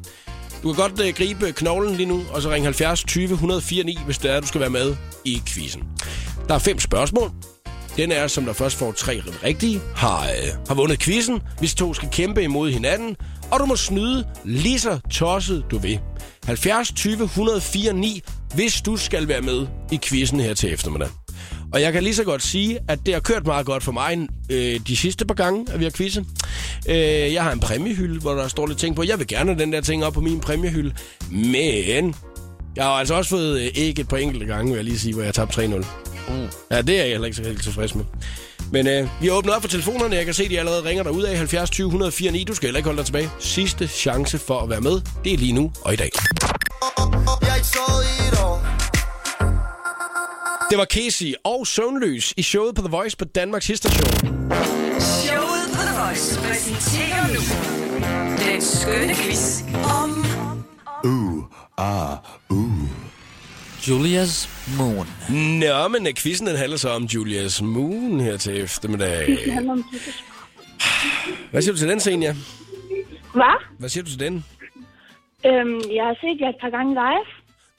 Speaker 1: Du kan godt øh, gribe knoglen lige nu, og så ring 70 20 104 9, hvis det er, du skal være med i quizzen. Der er fem spørgsmål. Den er, som der først får tre rigtige, har, øh, har vundet quizzen. Vi to skal kæmpe imod hinanden, og du må snyde lige så tosset du vil. 70 20 104 9, hvis du skal være med i quizzen her til eftermiddag. Og jeg kan lige så godt sige, at det har kørt meget godt for mig øh, de sidste par gange, at vi har quizet. Øh, jeg har en præmiehylde, hvor der står lidt ting på. Jeg vil gerne have den der ting op på min præmiehylde. Men jeg har altså også fået øh, ikke et par enkelte gange, vil jeg lige sige, hvor jeg tabte 3-0. Mm. Ja, det er jeg heller ikke så helt tilfreds med. Men øh, vi har åbnet op for telefonerne. Jeg kan se, at de allerede ringer dig ud af 70 20 104 9. Du skal heller ikke holde dig tilbage. Sidste chance for at være med, det er lige nu og i dag.
Speaker 10: Jeg har ikke sovet i et år.
Speaker 1: Det var Casey og Søvnløs i showet på The Voice på Danmarks Historshow.
Speaker 9: Showet på The Voice præsenterer nu den skønne quiz om
Speaker 2: Julius Moon.
Speaker 1: Nå, men øh, quizzen den handler så om Julias Moon her til eftermiddag. Hvad siger du til den, Senja?
Speaker 11: Hvad?
Speaker 1: Hvad siger du til den?
Speaker 11: Øhm, jeg har set jer et par gange live.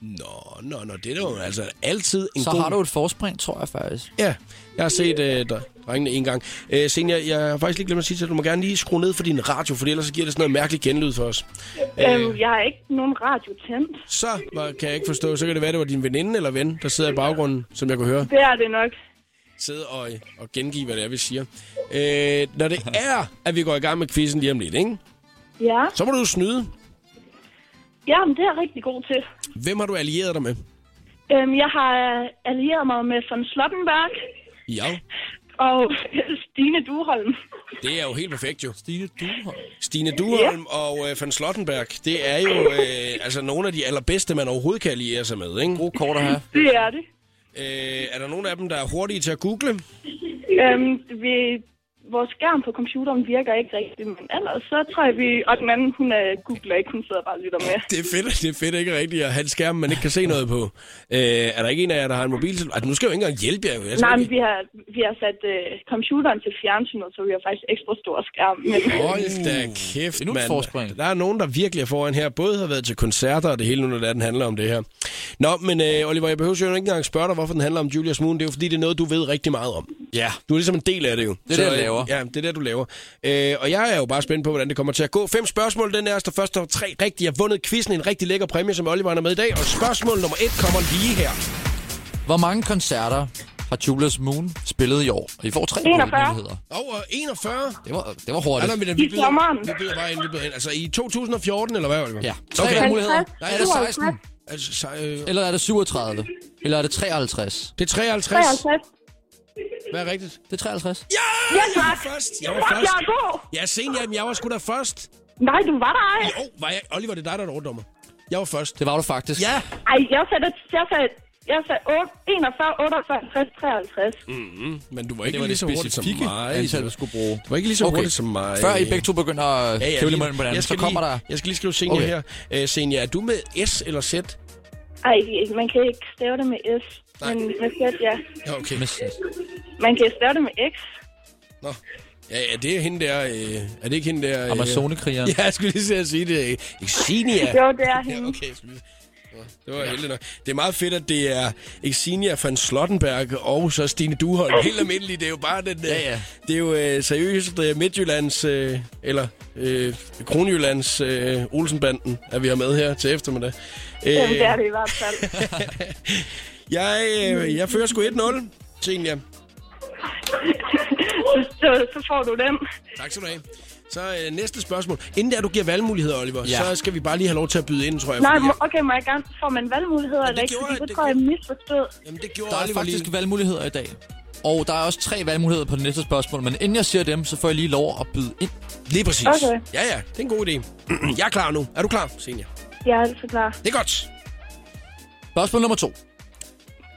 Speaker 1: Nå, nå, nå, det er jo altså altid en
Speaker 2: Så
Speaker 1: god...
Speaker 2: har du et forspring, tror jeg faktisk.
Speaker 1: Ja, jeg har set øh, dre- drengene en gang. Øh, Senja, jeg har faktisk lige glemt at sige til dig, du må gerne lige skrue ned for din radio, for ellers så giver det sådan noget mærkeligt genlyd for os.
Speaker 11: Øhm, jeg har ikke nogen radio tændt.
Speaker 1: Så var- kan jeg ikke forstå, så kan det være, det var din veninde eller ven, der sidder i baggrunden, som jeg kunne høre.
Speaker 11: Det er det nok.
Speaker 1: sidde og, og gengive, hvad det er, vi siger. Øh, når det er, at vi går i gang med quizzen lige om lidt, ikke?
Speaker 11: Ja,
Speaker 1: så må du jo snyde.
Speaker 11: Jamen, det er jeg rigtig god til.
Speaker 1: Hvem har du allieret dig med?
Speaker 11: Øhm, jeg har allieret mig med von Slottenberg
Speaker 1: Ja,
Speaker 11: og Stine Duholm.
Speaker 1: det er jo helt perfekt jo.
Speaker 2: Stine Duholm.
Speaker 1: Stine Duholm og øh, Van Slottenberg, det er jo øh, altså nogle af de allerbedste, man overhovedet kan alliere sig med, ikke?
Speaker 2: God kort at have.
Speaker 11: Det er det.
Speaker 1: Øh, er der nogen af dem, der er hurtige til at google?
Speaker 11: Øhm, vi, vores skærm på computeren virker ikke rigtigt, men ellers så tror jeg, vi... Og den anden, hun er googler ikke, hun sidder bare og lytter med.
Speaker 1: Det er fedt, det er fedt ikke rigtigt at have en skærm, man ikke kan se noget på. Øh, er der ikke en af jer, der har en mobiltelefon? Altså, nu skal jeg jo ikke engang hjælpe jer. jo. Jeg skal
Speaker 11: Nej,
Speaker 1: ikke-
Speaker 11: men vi har, vi har sat øh, computeren til fjernsynet, så vi har faktisk ekstra stor skærm. Men,
Speaker 1: Hold da kæft,
Speaker 2: Mm. Endnu et
Speaker 1: mand.
Speaker 2: forspring.
Speaker 1: Der er nogen, der virkelig er foran her. Både har været til koncerter og det hele, nu når det er, den handler om det her. Nå, men øh, Oliver, jeg behøver jo ikke engang spørge dig, hvorfor den handler om Julius Moon. Det er jo fordi, det er noget, du ved rigtig meget om.
Speaker 2: Ja.
Speaker 1: Du er ligesom en del af det jo.
Speaker 2: er det, jeg laver.
Speaker 1: øh, Ja, det er det, du laver. Øh, og jeg er jo bare spændt på, hvordan det kommer til at gå. Fem spørgsmål, den er der første og tre rigtige. Jeg har vundet quizzen, en rigtig lækker præmie, som Oliver er med i dag. Og spørgsmål nummer et kommer lige her.
Speaker 2: Hvor mange koncerter har Julius Moon spillet i år? Og I får tre
Speaker 11: 41.
Speaker 2: muligheder.
Speaker 1: Over 41.
Speaker 2: Det var, det var
Speaker 1: Er
Speaker 2: hurtigt.
Speaker 1: der, men, vi
Speaker 11: I sommeren.
Speaker 1: Vi byder bare ind, vi byder ind. Altså i 2014, eller hvad, Oliver?
Speaker 2: Ja, tre
Speaker 1: Okay.
Speaker 2: muligheder.
Speaker 11: Halvtreds.
Speaker 2: Nej, er det 16?
Speaker 1: Altså, så, øh,
Speaker 2: Eller er det 37? Eller er det 53?
Speaker 1: det er 53.
Speaker 11: 53.
Speaker 1: Hvad er rigtigt?
Speaker 2: Det er 53.
Speaker 1: Ja,
Speaker 11: Ja,
Speaker 1: jeg var
Speaker 11: tak.
Speaker 1: først. Jeg var
Speaker 11: Fuck,
Speaker 1: først.
Speaker 11: jeg er god!
Speaker 1: Jeg er sen, jamen, jeg var sgu da først.
Speaker 11: Nej, du var der ej.
Speaker 1: Jo, var jeg... Oliver, det er dig, der er overdommer. Jeg var først.
Speaker 2: Det var du faktisk.
Speaker 1: Ja,
Speaker 11: Ej, jeg sagde, jeg sagde, jeg sagde 8, 41, 48, 50, 53.
Speaker 1: Mm. men du var ikke
Speaker 2: Det var
Speaker 1: lige
Speaker 2: det
Speaker 1: så hurtigt som
Speaker 2: specifikke
Speaker 1: mig.
Speaker 2: antal, du
Speaker 1: Du
Speaker 2: skulle bruge.
Speaker 1: var ikke lige så
Speaker 2: Okay.
Speaker 1: hurtigt som mig.
Speaker 2: Før I begge to begynder at
Speaker 1: ja,
Speaker 2: kævle
Speaker 1: lige-
Speaker 2: imellem hinanden,
Speaker 1: jeg
Speaker 2: så
Speaker 1: skal
Speaker 2: kommer
Speaker 1: lige,
Speaker 2: der...
Speaker 1: Jeg skal lige skrive Senja
Speaker 2: Okay.
Speaker 1: her. Øh, Senja, er du med S eller Z?
Speaker 11: Ej, man kan ikke stave det med S. Men med Z, ja.
Speaker 1: Ja, okay.
Speaker 2: Miss.
Speaker 11: Man kan stave det med X.
Speaker 1: Nå. Ja, ja, det er hende der... Øh, er det ikke hende der... Øh,
Speaker 2: Amazonekrigeren.
Speaker 1: Ja, jeg skulle lige se at sige det. Øh, Xenia.
Speaker 11: Jo, det er
Speaker 1: Ja,
Speaker 11: hende.
Speaker 1: okay. jeg skulle lige- Nå, Det var heldigt nok. Det er meget fedt, at det er Xenia van Slottenberg og så Stine Duholm. Helt almindeligt. Det er jo bare den... Ja,
Speaker 2: ja.
Speaker 1: Det er jo øh, seriøst øh, Midtjyllands, øh, eller øh, Kronjyllands øh, Olsenbanden, at vi har med her til eftermiddag. Øh,
Speaker 11: Jamen, det er det i hvert fald.
Speaker 1: Jeg, øh, jeg fører sgu 1-0, Xenia.
Speaker 11: så, så, så får du den.
Speaker 1: Tak skal du have. Så øh, næste spørgsmål. Inden der du giver valgmuligheder, Oliver, ja.
Speaker 2: Ja.
Speaker 1: så skal vi bare lige have lov til at byde ind, tror jeg.
Speaker 11: Nej,
Speaker 1: fordi
Speaker 11: må, okay, må jeg gerne... Får man valgmuligheder eller ikke?
Speaker 1: gjorde
Speaker 11: Fordi
Speaker 1: jeg,
Speaker 11: det
Speaker 1: det
Speaker 11: tror jeg, jeg misforstod.
Speaker 1: jeg- jamen, det gjorde
Speaker 2: Der er
Speaker 1: Oliver
Speaker 2: faktisk
Speaker 1: lige.
Speaker 2: valgmuligheder i dag. Og der er også tre valgmuligheder på det næste spørgsmål, men inden jeg siger dem, så får jeg lige lov at byde ind.
Speaker 1: Lige præcis.
Speaker 11: Okay.
Speaker 1: Ja, ja. Det er en god idé. jeg er klar nu. Er du klar, Senior?
Speaker 11: Jeg er altså klar.
Speaker 1: Det er godt.
Speaker 2: Spørgsmål nummer to.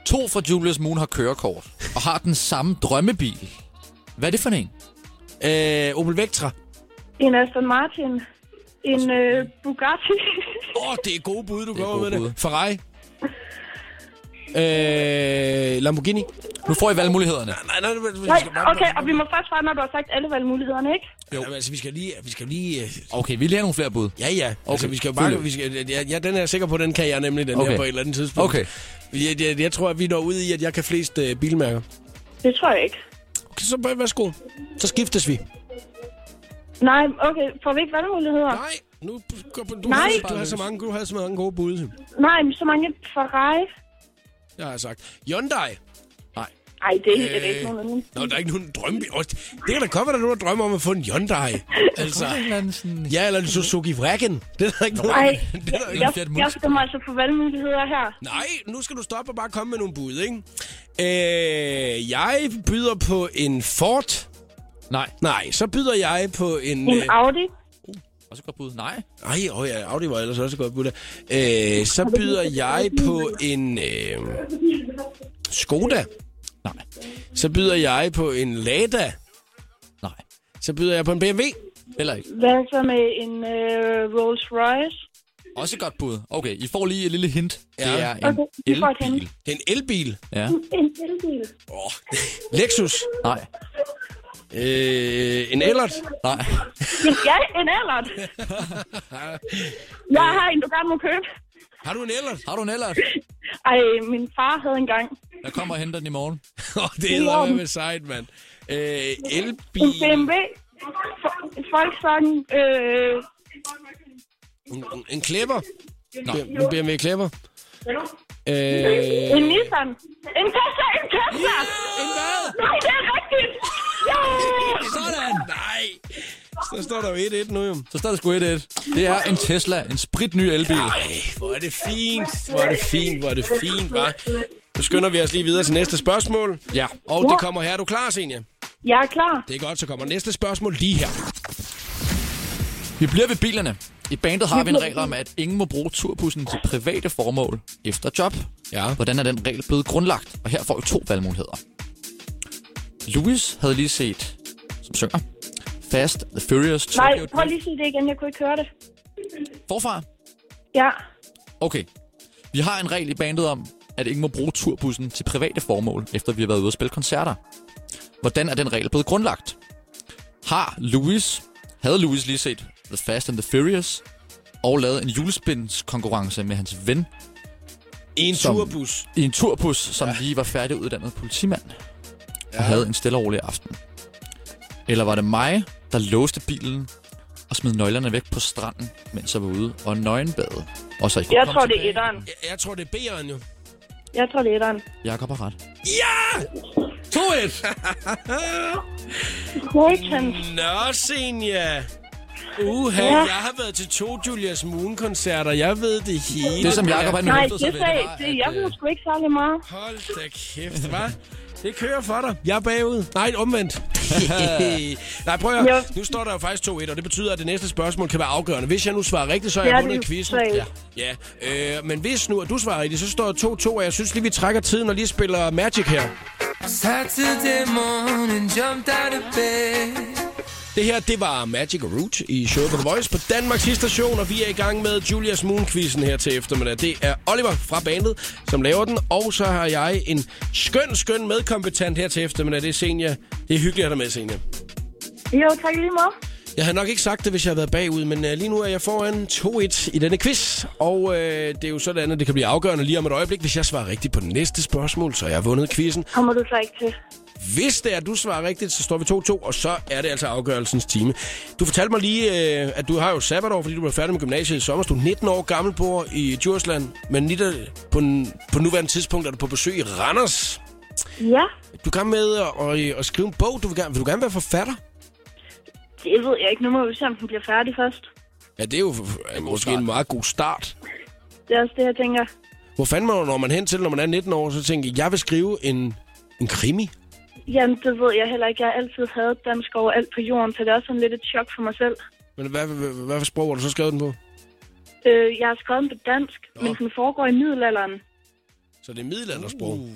Speaker 2: To fra Julius Moon har kørekort og har den samme drømmebil. Hvad er det for en?
Speaker 1: Øh, Opel Vectra.
Speaker 11: En Aston Martin.
Speaker 1: Altså,
Speaker 11: En
Speaker 1: mm.
Speaker 11: øh, Bugatti.
Speaker 1: Åh, oh, det er gode bud, du kommer med det. Ferrari. Øh, Lamborghini.
Speaker 2: Nu får I valgmulighederne.
Speaker 1: Nej, nej, nej.
Speaker 11: Nej, okay, og vi må først svare, når du har sagt alle valgmulighederne, ikke?
Speaker 1: Jo. Jamen, altså, vi skal lige... Vi skal lige øh,
Speaker 2: Okay, vi lige have nogle flere bud.
Speaker 1: ja, ja. Okay. Altså, vi skal jo
Speaker 2: fuld
Speaker 1: bare...
Speaker 2: ud.
Speaker 1: Vi skal, ja, ja, den er jeg sikker på, den kan jeg nemlig, den okay.
Speaker 2: Okay.
Speaker 1: her på et eller andet tidspunkt.
Speaker 2: Okay.
Speaker 1: Jeg, jeg, jeg tror, at vi når ud i, at jeg kan flest øh, bilmærker.
Speaker 11: Det tror jeg ikke.
Speaker 1: Okay, så bare værsgo. Så skiftes vi.
Speaker 11: Nej, okay, får vi ikke valgmuligheder?
Speaker 1: Nej, nu går på... Du,
Speaker 11: Nej.
Speaker 1: Har, du, har så mange, du har så mange gode bud.
Speaker 11: Nej, men så mange Ferrari.
Speaker 1: Jeg har sagt. Hyundai.
Speaker 11: Ej, det er, øh... det er ikke nogen anden.
Speaker 1: Nå, der er ikke nogen drømmebil. Åh, Det kan da godt være, at der er nogen, der drømmer om at få en Hyundai. altså, ja, eller en Suzuki Vragen. Det er der ikke
Speaker 11: Ej,
Speaker 1: nogen. Det er der ikke.
Speaker 11: jeg, jeg stemmer altså for valgmuligheder her.
Speaker 1: Nej, nu skal du stoppe og bare komme med nogle bud, ikke? Øh, jeg byder på en Ford.
Speaker 2: Nej.
Speaker 1: Nej, så byder jeg på en... øh,
Speaker 11: En Audi.
Speaker 2: Også godt bud. Nej.
Speaker 1: Ej, åh ja, Audi var ellers også et godt bud der. Øh, så byder jeg på en øh, Skoda.
Speaker 2: Nej.
Speaker 1: Så byder jeg på en Lada.
Speaker 2: Nej.
Speaker 1: Så byder jeg på en BMW.
Speaker 2: Heller ikke.
Speaker 11: Hvad så med en øh, Rolls Royce?
Speaker 2: Også et godt bud. Okay, I får lige et lille hint.
Speaker 1: Ja.
Speaker 2: Det er en
Speaker 11: Okay, vi får et hint.
Speaker 2: elbil.
Speaker 1: Det er en elbil.
Speaker 2: Ja.
Speaker 11: En elbil.
Speaker 1: Oh. Lexus.
Speaker 2: Nej.
Speaker 1: Øh, en Ellert.
Speaker 2: Nej.
Speaker 11: En- Ja, en Allert. jeg har en, du gerne må købe.
Speaker 1: Har du en Ellert?
Speaker 2: Har du en ellers?
Speaker 11: Ej, min far havde engang
Speaker 2: Jeg kommer og henter den i morgen.
Speaker 1: Åh, det er med sejt, mand. Øh,
Speaker 11: en
Speaker 1: elbil.
Speaker 11: BMW. Fo- Volkswagen. Øh,
Speaker 1: En- En klipper.
Speaker 2: Nå.
Speaker 1: Nu bliver med klipper. Øh,
Speaker 11: en Nissan. En Tesla, en Tesla!
Speaker 1: en hvad?
Speaker 11: Nej, det er rigtigt! Ja!
Speaker 1: Sådan! Nej! Så står der jo 1-1 nu, jo.
Speaker 2: Så står der sgu 1-1. Det er en Tesla. En spritny elbil.
Speaker 1: Ej, hvor er det fint. Hvor er det fint, hvor er det fint, var. Nu skynder vi os lige videre til næste spørgsmål.
Speaker 2: Ja.
Speaker 1: Og det kommer her. Er du klar, Senja?
Speaker 11: Jeg er klar.
Speaker 1: Det er godt, så kommer næste spørgsmål lige her.
Speaker 2: Vi bliver ved bilerne. I bandet har vi en regel om, at ingen må bruge turbussen til private formål efter job.
Speaker 1: Ja.
Speaker 2: Hvordan er den regel blevet grundlagt? Og her får I to valgmuligheder. Louis havde lige set, som synger, Fast the Furious
Speaker 11: Nej,
Speaker 2: Tokyo
Speaker 11: prøv
Speaker 2: Drift.
Speaker 11: lige at sige det igen. Jeg kunne ikke høre det.
Speaker 2: Forfra?
Speaker 11: Ja.
Speaker 2: Okay. Vi har en regel i bandet om, at ingen må bruge turbussen til private formål, efter vi har været ude og spille koncerter. Hvordan er den regel blevet grundlagt? Har Louis, havde Louis lige set The Fast and the Furious, og lavet en julespindskonkurrence med hans ven
Speaker 1: I en
Speaker 2: Som-
Speaker 1: turbus.
Speaker 2: i en turbus, som ja. lige var færdiguddannet politimand, ja. og havde en stille og rolig aften? Eller var det mig, der låste bilen og smed nøglerne væk på stranden, mens jeg var ude og nøgenbade? Og så I kunne
Speaker 11: Jeg
Speaker 2: komme
Speaker 11: tror, det er
Speaker 2: tilbage.
Speaker 11: etteren.
Speaker 1: Jeg, jeg tror, det er B'eren jo.
Speaker 11: Jeg tror, det er etteren.
Speaker 2: Jakob har ret.
Speaker 1: Ja! 2-1!
Speaker 11: Hortons.
Speaker 1: Nå, Senja. Uha,
Speaker 11: Ja.
Speaker 1: jeg har været til to Julius Moon-koncerter. Jeg ved det hele.
Speaker 2: Det, som Jacob
Speaker 1: Jacob
Speaker 2: han
Speaker 11: Nej,
Speaker 2: hæftede sig
Speaker 11: det
Speaker 2: ved,
Speaker 11: sagde
Speaker 2: var,
Speaker 11: det.
Speaker 2: at,
Speaker 11: Jeg
Speaker 2: øh,
Speaker 11: ved sgu ikke særlig meget.
Speaker 1: Hold da kæft, hva'? Det kører for dig. Jeg er bagud. Nej, omvendt. Nej, prøv at høre.
Speaker 11: Jo.
Speaker 1: Nu står der jo faktisk 2-1, og det betyder, at det næste spørgsmål kan være afgørende. Hvis jeg nu svarer rigtigt, så er jeg
Speaker 11: Ja,
Speaker 1: vundet
Speaker 11: det er
Speaker 1: quizzen.
Speaker 11: tre.
Speaker 1: Ja. ja. Øh, men hvis nu, at du svarer rigtigt, så står der 2-2, og jeg synes lige, vi trækker tiden og lige spiller Magic her.
Speaker 4: Saturday morning, jumped out of bed.
Speaker 1: Det her, det var Magic og Root i showet på The Voice på Danmarks station, og vi er i gang med Julius Moon-quizzen her til eftermiddag. Det er Oliver fra bandet, som laver den, og så har jeg en skøn, skøn medkompetent her til eftermiddag. Det er Senja. Det er hyggeligt at have dig med, Senja.
Speaker 11: Jo, tak i lige meget.
Speaker 1: Jeg havde nok ikke sagt det, hvis jeg havde været bagud, men øh, lige nu er jeg foran 2-1 i denne quiz. Og øh, det er jo sådan, at det kan blive afgørende lige om et øjeblik. Hvis jeg svarer rigtigt på det næste spørgsmål, så har jeg vundet quizzen.
Speaker 11: Kommer du så ikke til?
Speaker 1: Hvis det er, at du svarer rigtigt, så står vi 2-2, og så er det altså afgørelsens time. Du fortalte mig lige, øh, at du har jo sabbatår, fordi du blev færdig med gymnasiet i sommer. Du er 19 år gammel, bor i Djursland, men lige der, på, n- på nuværende tidspunkt er du på besøg i Randers.
Speaker 11: Ja,
Speaker 1: Du er i gang med at, at, at skrive en bog. Du vil, gerne, vil du gerne være forfatter?
Speaker 11: det ved jeg ikke. Nu må vi se, om den bliver færdig først.
Speaker 1: Ja, det er jo øh, måske en meget god start.
Speaker 11: Det er også det, jeg tænker.
Speaker 1: Hvor fanden man, når man hen til, når man er 19 år, så tænker jeg, jeg vil skrive en, en krimi.
Speaker 11: Jamen, det ved jeg heller ikke. Jeg har altid hadet dansk over alt på jorden, så det er også sådan lidt et chok for mig selv.
Speaker 1: Men hvad, hvad, hvad for sprog har du så skrevet den på?
Speaker 11: Øh, jeg har skrevet den på dansk, men den foregår i middelalderen.
Speaker 1: Så det er middelaldersprog. Uh.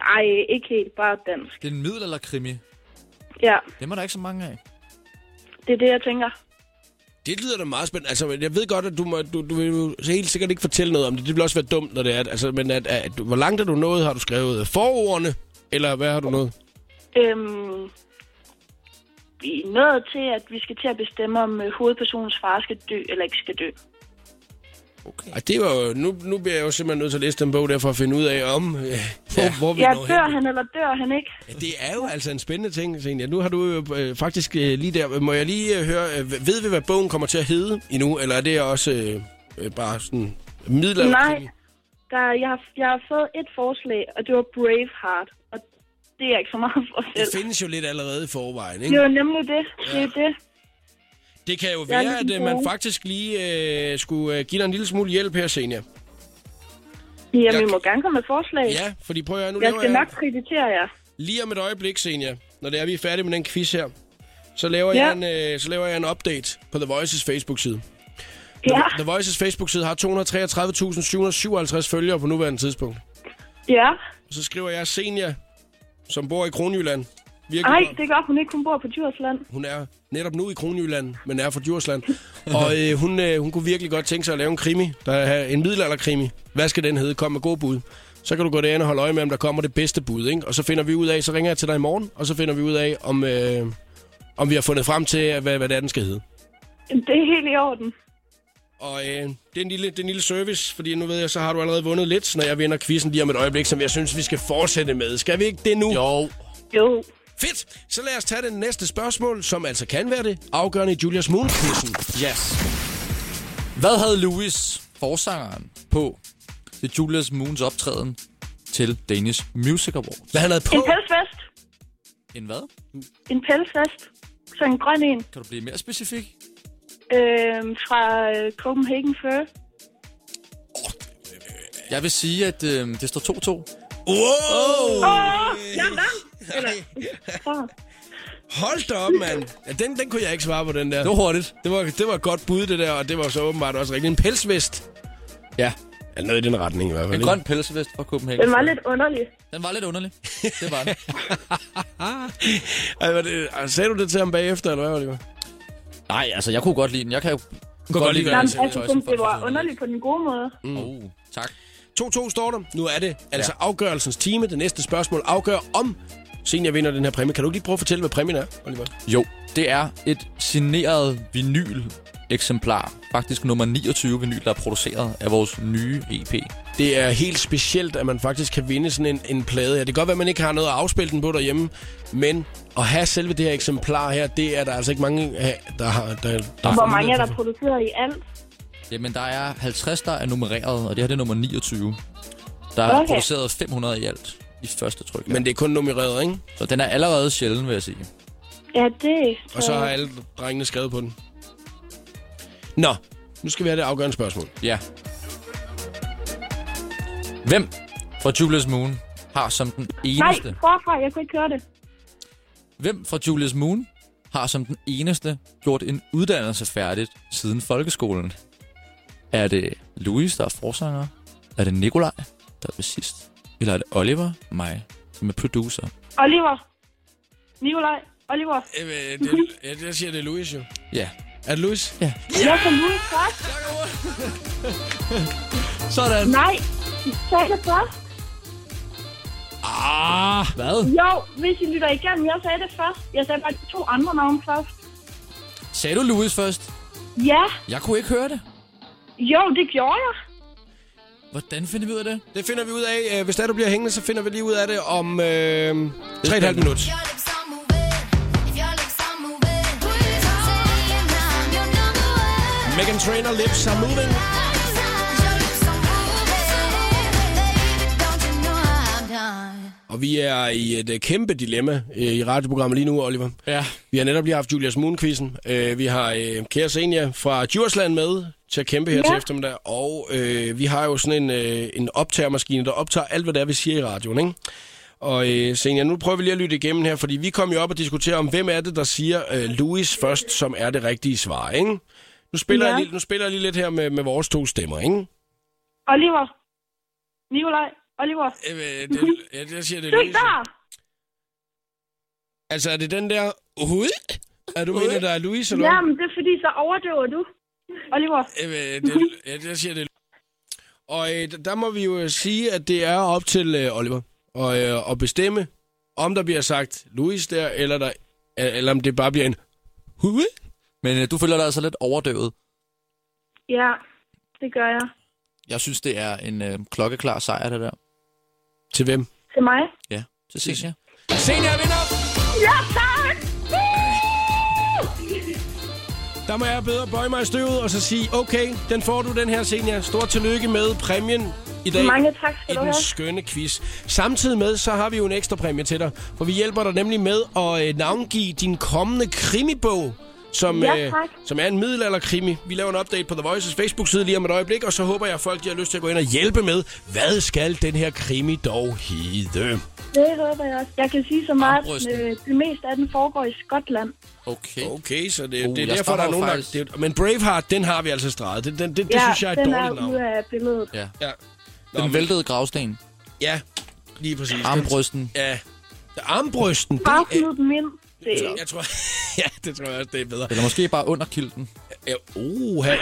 Speaker 11: Ej, ikke helt, bare dansk.
Speaker 2: Det er en middelalderkrimi.
Speaker 11: Ja,
Speaker 2: Dem er der ikke så mange af.
Speaker 11: det er det, jeg tænker.
Speaker 1: Det lyder da meget spændende. Altså, men jeg ved godt, at du, må, du, du vil jo så helt sikkert ikke fortælle noget om det. Det vil også være dumt, når det er. at- Altså, men at, at, hvor langt er du nået? Har du skrevet forordene? Eller hvad har du nået?
Speaker 11: Øhm, vi er nået til, at vi skal til at bestemme, om øh, hovedpersonens far skal dø eller ikke skal dø.
Speaker 1: Ej, det var jo, nu, nu bliver jeg jo simpelthen nødt til at læse den bog der for at finde ud af, om, øh, hvor, hvor vi
Speaker 11: Ja,
Speaker 1: når hen.
Speaker 11: dør han eller dør han ikke?
Speaker 1: Ja, Det er jo altså en spændende ting, Senia. Nu har du jo øh, faktisk øh, lige der... Må jeg lige øh, høre... Øh, ved vi, hvad bogen kommer til at hedde endnu? Eller er det også øh, øh, bare sådan... Midler?
Speaker 11: Nej, der, er- jeg, har, jeg har fået et forslag, og det var Braveheart. Og det er ikke så meget for
Speaker 1: Det
Speaker 11: selv.
Speaker 1: findes jo lidt allerede i forvejen,
Speaker 11: Det
Speaker 1: ikke?
Speaker 11: er jo nemlig det. Det er det.
Speaker 1: Det kan jo
Speaker 11: Jeg er
Speaker 1: være, at
Speaker 11: ligesom
Speaker 1: øh, man
Speaker 11: bogen.
Speaker 1: faktisk lige øh, skulle øh, give dig en lille smule hjælp her, Senia.
Speaker 11: Jamen, I må gerne komme med forslag.
Speaker 1: Ja, fordi prøv at høre, nu
Speaker 11: jeg
Speaker 1: laver
Speaker 11: skal
Speaker 1: jeg-
Speaker 11: nok kreditere jer.
Speaker 1: Lige om et øjeblik, Senia, når det er, vi er færdige med den quiz her, så laver, ja.
Speaker 11: Ja.
Speaker 1: jeg, en, øh, så laver jeg en update på The Voices Facebook-side.
Speaker 11: Ja,
Speaker 1: The Voices Facebook-side har 233.757 følgere på nuværende tidspunkt.
Speaker 11: ja.
Speaker 1: Så skriver jeg Senia, som bor i Kronjylland. Virkelig
Speaker 11: Ej,
Speaker 1: godt.
Speaker 11: det gør hun ikke. Hun bor på Djursland.
Speaker 1: Hun er netop nu i Kronjylland, men er fra Djursland. og øh, hun, øh, hun kunne virkelig godt tænke sig at lave en krimi. Der er en middelalderkrimi. Hvad skal den hedde? Kom med gode bud. Så kan du gå derind og holde øje med, om der kommer det bedste bud. Ikke? Og så finder vi ud af, så ringer jeg til dig i morgen, og så finder vi ud af, om, øh, om vi har fundet frem til, hvad, hvad det er, den skal hedde.
Speaker 11: Det er helt i orden.
Speaker 1: Og øh, det, er en lille, det er en lille service, fordi nu ved jeg, så har du allerede vundet lidt, når jeg vinder quizzen lige om et øjeblik, som jeg synes, vi skal fortsætte med. Skal vi ikke det nu?
Speaker 2: Jo.
Speaker 11: Jo.
Speaker 1: Fedt! Så lad os tage det næste spørgsmål, som altså kan være det afgørende i Julias Moon-quizzen.
Speaker 2: Yes. Hvad havde Louis, forsangeren, på til Julius Moons optræden til Danish Music Awards?
Speaker 1: Hvad han havde
Speaker 11: En pelsvest.
Speaker 2: En hvad?
Speaker 11: En pelsvest. Så en grøn en.
Speaker 2: Kan du blive mere specifik?
Speaker 11: Øhm, fra øh, Copenhagen Fur.
Speaker 2: Jeg vil sige, at øh, det står 2-2.
Speaker 1: Wow!
Speaker 11: Åh, oh, jeg vandt! Eller, så.
Speaker 1: Hold da op, mand. Ja, den, den kunne jeg ikke svare på, den der.
Speaker 2: Det var hurtigt.
Speaker 1: Det var, det var et godt bud, det der, og det var så åbenbart også rigtig en pelsvest.
Speaker 2: Ja.
Speaker 1: Ja, noget i den retning i hvert fald.
Speaker 2: En grøn pelsevest fra Copenhagen.
Speaker 11: Den var lidt underlig.
Speaker 2: Den var lidt underlig. Det var den.
Speaker 1: Ej, var det, altså, sagde du det til ham bagefter, eller hvad var det? Var?
Speaker 2: Nej, altså, jeg kunne godt lide den. Jeg kan jo
Speaker 1: Kunne godt lide
Speaker 11: Nå,
Speaker 1: den.
Speaker 11: men
Speaker 1: altså,
Speaker 11: altså, jeg synes, det var underligt på den gode måde.
Speaker 2: Mm. Oh, tak.
Speaker 1: 2-2 står der. Nu er det altså ja. afgørelsens time. Det næste spørgsmål afgør om senior vinder den her præmie. Kan du ikke lige prøve at fortælle, hvad præmien er, Oliver?
Speaker 2: Jo, det er et signeret vinyl-eksemplar. Faktisk nummer 29 vinyl, der er produceret af vores nye E EP.
Speaker 1: Det er helt specielt, at man faktisk kan vinde sådan en, en plade her. Det kan godt være, at man ikke har noget at afspille den på derhjemme, men at have selve det her eksemplar her, det er der altså ikke mange, af, der har... Der, der
Speaker 11: Hvor mange er der produceret i alt?
Speaker 2: Jamen, der er 50, der er nummereret, og det her det er nummer 29. Der er
Speaker 11: Okay.
Speaker 2: okay. produceret 500 i alt i første tryk.
Speaker 1: Men det er kun nummereret, ikke?
Speaker 2: Så den er allerede sjælden, vil jeg sige.
Speaker 11: Ja, det øh,
Speaker 1: Og så har alle drengene skrevet på den. Nå, nu skal vi have det afgørende spørgsmål.
Speaker 2: Ja. Hvem fra Julius Moon har som den
Speaker 11: Nej,
Speaker 2: eneste...
Speaker 11: forfra, jeg kunne ikke høre det.
Speaker 2: Hvem fra Julius Moon har som den eneste gjort en uddannelse færdigt siden folkeskolen? Er det Louis, der er forsanger? Er det Nikolaj, der er bassist? Eller er det Oliver, mig, som er producer?
Speaker 11: Oliver. Nikolaj. Oliver.
Speaker 1: Øh, det, jeg, jeg siger, det er Louis jo.
Speaker 2: Ja.
Speaker 1: Er det Louis?
Speaker 11: Jeg kan nu først.
Speaker 2: Sådan.
Speaker 11: Nej, I sagde det først.
Speaker 2: Ah, hvad?
Speaker 11: Jo, hvis I lytter igennem, jeg sagde det først. Jeg sagde bare de to andre navne først.
Speaker 2: Sagde du Louis først?
Speaker 11: Ja,
Speaker 2: Jeg kunne ikke høre det.
Speaker 11: jo, det gjorde jeg.
Speaker 2: Hvordan finder vi ud af det?
Speaker 1: Det finder vi ud af. Øh, Hvis der du bliver hængende, så finder vi lige ud af det om øh, 3,5 minutter. Megan Trainor, Lips Are Moving. Og vi er i et øh, kæmpe dilemma øh, i radioprogrammet lige nu, Oliver.
Speaker 2: Ja.
Speaker 1: Vi har netop lige haft Julias Moon-quizzen. Øh, vi har øh, kære Senja fra Djursland med til at kæmpe her ja. til eftermiddag. Og øh, vi har jo sådan en, øh, en optagermaskine, der optager alt, hvad det er, vi siger i radioen, ikke? Og øh, Senja, nu prøver vi lige at lytte igennem her, fordi vi kom jo op og diskuterer om, hvem er det, der siger øh, Louis først, som er det rigtige svar, ikke? Nu spiller,
Speaker 11: Ja.
Speaker 1: ja. jeg, lige, nu spiller jeg lige lidt her med, med vores to stemmer, ikke?
Speaker 11: Oliver. Nikolaj. Oliver.
Speaker 1: Øh, det, jeg, jeg siger, det
Speaker 11: Den
Speaker 1: Louise.
Speaker 11: der!
Speaker 1: Altså, er det den der... Ui? Er du mener, der er Louise, eller hvad?
Speaker 11: Jamen, det er fordi, så overdøver du. Oliver.
Speaker 1: Øh, det, jeg, jeg siger det. Og øh, der må vi jo øh, sige, at det er op til øh, Oliver og, øh, at bestemme, om der bliver sagt Louis der, eller, der, øh, eller om det bare bliver en hue.
Speaker 2: Men øh, du føler dig altså lidt overdøvet.
Speaker 11: Ja, det gør jeg.
Speaker 2: Jeg synes, det er en øh, klokkeklar sejr, det der.
Speaker 1: Til hvem?
Speaker 11: Til mig.
Speaker 2: Ja, til Senja.
Speaker 1: Senior vinder!
Speaker 11: Ja, tak!
Speaker 1: Der må jeg bedre bøje mig i støvet og så sige, okay, den får du den her, Senior. Stort tillykke med præmien i dag.
Speaker 11: Mange tak
Speaker 1: i
Speaker 11: skal du
Speaker 1: den
Speaker 11: have.
Speaker 1: skønne quiz. Samtidig med, så har vi jo en ekstra præmie til dig, for vi hjælper dig nemlig med at øh, navngive din kommende krimibog, som, øh,
Speaker 11: Ja, tak.
Speaker 1: som er en middelalderkrimi. Vi laver en update på The Voices Facebook-side lige om et øjeblik, og så håber jeg, at folk de har lyst til at gå ind og hjælpe med, hvad skal den her krimi dog hedde?
Speaker 11: Det håber jeg også. Jeg kan sige så meget, at
Speaker 1: Armbrysten.
Speaker 11: øh, det meste af den foregår i Skotland.
Speaker 2: Okay.
Speaker 1: Okay, så det,
Speaker 2: Uh,
Speaker 1: uh, det er
Speaker 2: jeg
Speaker 1: derfor, der er
Speaker 2: stammer
Speaker 1: nogen, der...
Speaker 2: faktisk-
Speaker 1: Det, men Braveheart, den har vi altså streget. Den, den, den, det synes jeg er et
Speaker 11: den
Speaker 1: dårligt
Speaker 11: er
Speaker 1: navn.
Speaker 11: ude af billedet.
Speaker 2: Ja.
Speaker 1: Ja. Nå,
Speaker 2: Den
Speaker 1: men-
Speaker 2: væltede gravsten.
Speaker 1: Ja, lige præcis.
Speaker 2: Armbrysten.
Speaker 1: Ja. Armbrysten, det
Speaker 11: Bare
Speaker 1: er...
Speaker 11: smid dem ind. Det,
Speaker 1: Øh, Jeg tror, ja, det tror jeg også, det er bedre.
Speaker 2: Eller måske bare under kilden.
Speaker 1: Ja, uh, nøg,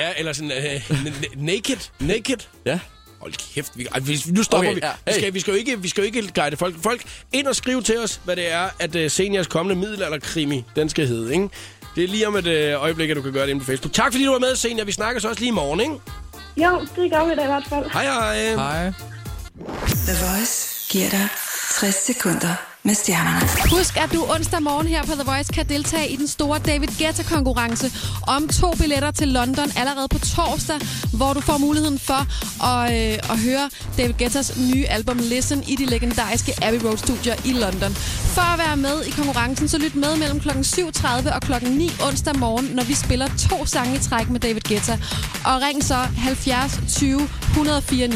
Speaker 1: ja, eller sådan uh, naked, naked.
Speaker 2: Ja.
Speaker 1: Hold kæft, vi, ej, vi, nu stopper
Speaker 2: Okay,
Speaker 1: vi.
Speaker 2: ja,
Speaker 1: Vi,
Speaker 2: hey.
Speaker 1: skal, vi, skal jo ikke, vi skal jo ikke guide folk. Folk, ind og skriv til os, hvad det er, at uh, Seniors kommende middelalderkrimi, den skal hedde, ikke? Det er lige om et øh, øjeblik, at du kan gøre det inde på Facebook. Tak fordi du var med, Senior. Vi snakkes også lige i morgen, ikke?
Speaker 11: jo, det gør vi da i hvert fald.
Speaker 1: Hej, hej.
Speaker 2: Hej.
Speaker 3: The Voice giver dig 60 sekunder med stjernerne.
Speaker 6: Husk, at du onsdag morgen her på The Voice kan deltage i den store David Guetta-konkurrence om to billetter til London allerede på torsdag, hvor du får muligheden for at, øh, at høre David Guettas nye album Listen i de legendariske Abbey Road Studier i London. For at være med i konkurrencen, så lyt med mellem kl. 7.30 og kl. 9 onsdag morgen, når vi spiller to sange i træk med David Guetta. Og ring så 70 20 104 9.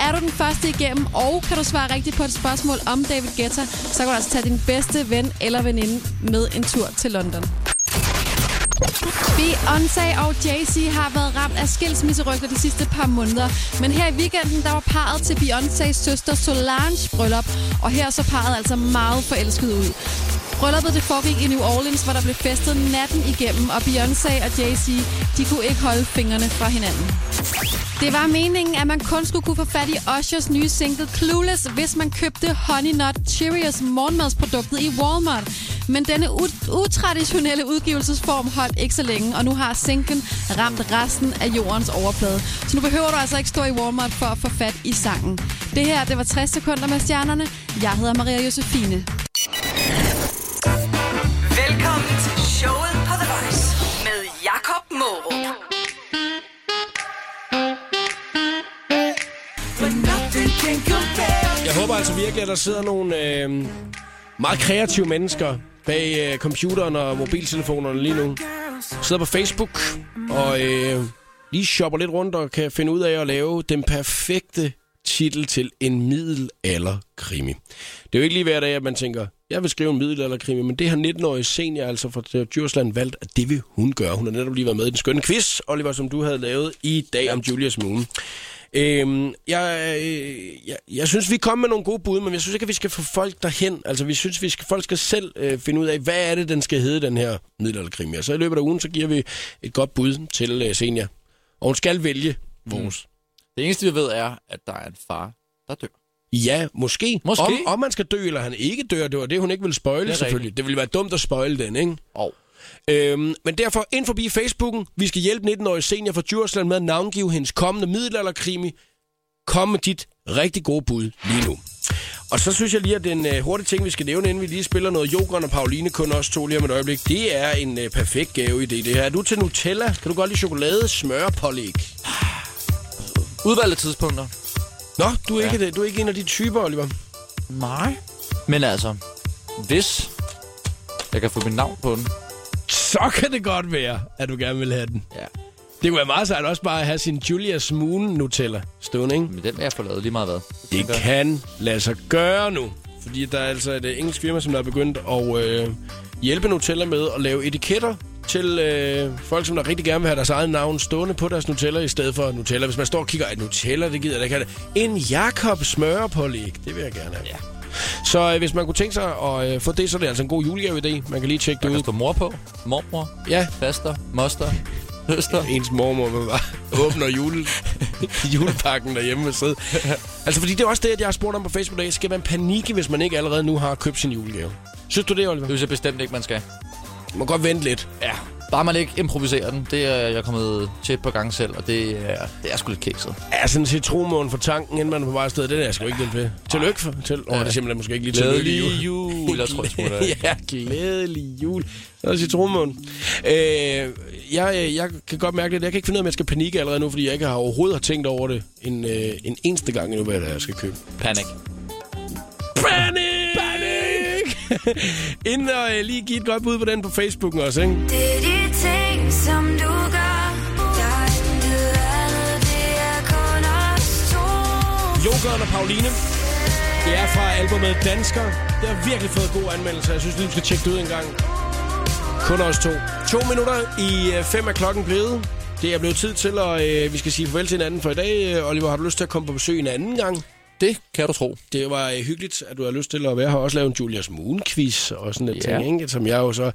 Speaker 6: Er du den første igennem, og kan du svare rigtigt på et spørgsmål om David Guetta, så kan du altså tage din bedste ven eller veninde med en tur til London. Beyoncé og Jay-Z har været ramt af skilsmisserygter de sidste par måneder. Men her i weekenden, der var parret til Beyoncé's søster Solange bryllup. Og her så parret altså meget forelsket ud. Brylluppet det foregik i New Orleans, hvor der blev festet natten igennem, og Beyoncé og Jay-Z, de kunne ikke holde fingrene fra hinanden. Det var meningen, at man kun skulle kunne få fat i Ushers nye single Clueless, hvis man købte Honey Nut Cheerios morgenmadsproduktet i Walmart. Men denne ut- utraditionelle udgivelsesform holdt ikke så længe, og nu har singlen ramt resten af jordens overflade. Så nu behøver du altså ikke stå i Walmart for at få fat i sangen. Det her, det var 60 sekunder med stjernerne. Jeg hedder Maria Josefine.
Speaker 9: Velkommen til showet på The Voice med Jakob Morup.
Speaker 1: Jeg håber altså virkelig, at der sidder nogle øh, meget kreative mennesker bag øh, computeren og mobiltelefonerne lige nu. Sidder på Facebook og øh, lige shopper lidt rundt og kan finde ud af at lave den perfekte titel til en middelalderkrimi. Det er jo ikke lige hver dag, at man tænker, jeg vil skrive en middelalderkrimi, men det har 19-årige senior altså fra øh, Djursland valgt, at det vil hun gøre. Hun har netop lige været med i den skønne quiz, Oliver, som du havde lavet i dag om Julius Moon. Øhm, jeg, øh, jeg, jeg synes, vi kom med nogle gode bud, men jeg synes ikke, at vi skal få folk derhen. Altså, vi synes, vi skal, folk skal selv øh, finde ud af, hvad er det, den skal hedde, den her middelalderkrimi. Og så i løbet af ugen, så giver vi et godt bud til øh, Senior. Og hun skal vælge
Speaker 2: Mm.
Speaker 1: vores.
Speaker 2: Det eneste, vi ved, er, at der er en far, der dør.
Speaker 1: Ja, måske.
Speaker 2: Måske.
Speaker 1: Om, om man skal dø, eller han ikke dør, det var det, hun ikke ville
Speaker 2: Det
Speaker 1: spøjle,
Speaker 2: er
Speaker 1: selvfølgelig. Det ville være dumt at spøjle den, ikke?
Speaker 2: Og
Speaker 1: Øhm, men derfor ind forbi Facebooken. Vi skal hjælpe 19-årige senior fra Djursland med at navngive hendes kommende middelalderkrimi. Kom med dit rigtig gode bud lige nu. Og så synes jeg lige, at den øh, hurtige ting, vi skal nævne, inden vi lige spiller noget Jokeren og Pauline, kun også to lige om et øjeblik, det er en øh, perfekt gaveidé, det her. Er du til Nutella? Kan du godt lide chokolade, smør og pålæg?
Speaker 2: udvalgte tidspunkter.
Speaker 1: Nå, du er, ja. ikke, det. du er ikke en af de typer, Oliver.
Speaker 2: Nej. Men altså, hvis jeg kan få mit navn på den.
Speaker 1: Så kan det godt være, at du gerne vil have den.
Speaker 2: Ja.
Speaker 1: Det kunne være meget sejt også bare at have sin Julius Moon Nutella stående, ikke?
Speaker 2: Men den vil jeg få lavet lige meget hvad.
Speaker 1: Det kan lade sig gøre nu. Fordi der er altså et øh, engelsk firma, som der er begyndt at øh, hjælpe Nutella med at lave etiketter til øh, folk, som der rigtig gerne vil have deres eget navn stående på deres Nutella i stedet for Nutella. Hvis man står og kigger, at Nutella, det gider jeg da ikke have det. En Jakob smørepålæg, det vil jeg gerne have. Ja. Så øh, hvis man kunne tænke sig at øh, få det, så er det altså en god julegave-idé. Man kan lige tjekke det ud. Der
Speaker 2: mor på. Mormor.
Speaker 1: Ja.
Speaker 2: Faster. Moster. Høster.
Speaker 1: Ens mormor vil bare åbner jule, julepakken derhjemme ved side. Altså, fordi det er også det, at jeg har spurgt om på Facebook i dag. Skal man panikke, hvis man ikke allerede nu har købt sin julegave? Synes du det, Oliver?
Speaker 2: Det synes jeg bestemt ikke, man skal.
Speaker 1: Man må godt vente lidt.
Speaker 2: Ja. Bare man ikke improviserer den. Det er jeg kommet til et par gange selv, og det er, det er sgu lidt kikset.
Speaker 1: Ja, sådan en citronmåne for tanken, inden man er på vej afsted, den er jeg sgu ikke lidt ved. Tillykke for... Til, åh, det er simpelthen måske ikke lige
Speaker 2: Glædelig jul. Eller tror jeg, sgu, det er.
Speaker 1: ja, glædelig jul. Så er det citronmåne. Øh, jeg, øh, jeg kan godt mærke det. Jeg kan ikke finde ud af, om jeg skal panikke allerede nu, fordi jeg ikke har overhovedet har tænkt over det en, øh, en eneste gang endnu, hvad det er, jeg skal købe.
Speaker 2: Panic.
Speaker 1: Panic! Panic! Inden og øh, lige give et godt bud på den på Facebooken også, ikke?
Speaker 9: Det er de ting, som du gør. Der er intet andet, det er kun os to.
Speaker 1: Jokeren og Pauline. Det er fra albumet Dansker. Det har virkelig fået gode anmeldelser. Jeg synes, lige, du skal tjekke det ud en gang. Kun os to. To minutter i øh, fem er klokken blevet. Det er blevet tid til, og øh, vi skal sige farvel til hinanden for i dag. Øh, Oliver, har du lyst til at komme på besøg en anden gang?
Speaker 2: Det kan du tro.
Speaker 1: Det var øh, hyggeligt, at du har lyst til at være her. Også lavet en Julius Moon-quiz og sådan lidt
Speaker 2: Ja.
Speaker 1: ting, ikke? som jeg jo så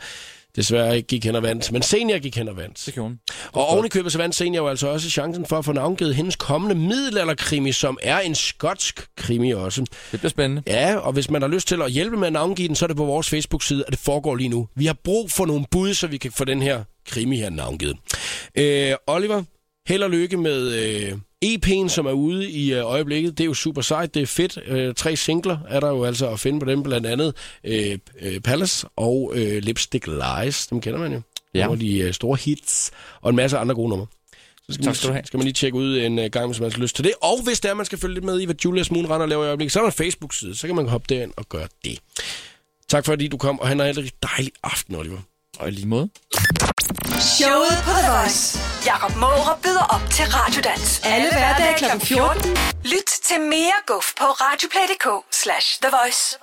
Speaker 1: desværre ikke gik hen og vandt. Men senior gik hen og vandt.
Speaker 2: Det gjorde hun.
Speaker 1: Og oven i købet, så vandt Senior jo altså også chancen for at få navngivet hendes kommende middelalderkrimi, som er en skotsk krimi også.
Speaker 2: Det bliver spændende.
Speaker 1: Ja, og hvis man har lyst til at hjælpe med at navngive den, så er det på vores Facebook-side, at det foregår lige nu. Vi har brug for nogle bud, så vi kan få den her krimi her navngivet. Øh, Oliver, held og lykke med øh, EP'en, som er ude i øh, øjeblikket. Det er jo super sejt, det er fedt. Øh, tre singler er der jo altså at finde på dem, blandt andet øh, øh, Palace og øh, Lipstick Lies. Dem kender man jo.
Speaker 2: Ja.
Speaker 1: Nogle af de øh, store hits, og en masse andre gode numre. Så skal,
Speaker 2: Tak
Speaker 1: man,
Speaker 2: skal du have.
Speaker 1: skal man lige tjekke ud en øh, gang, hvis man har lyst til det. Og hvis der man skal følge lidt med i, hvad Julius Moon render og laver i øjeblikket, så er der en Facebook-side, så kan man hoppe derind og gøre det. Tak fordi du kom, og han har en rigtig dejlig aften, Oliver.
Speaker 2: Og i lige måde.
Speaker 9: Showet på The Voice. Jakob Måre byder op til Radiodans. Alle hverdage kl. 14. Lyt til mere guf på radioplay.dk slash The Voice.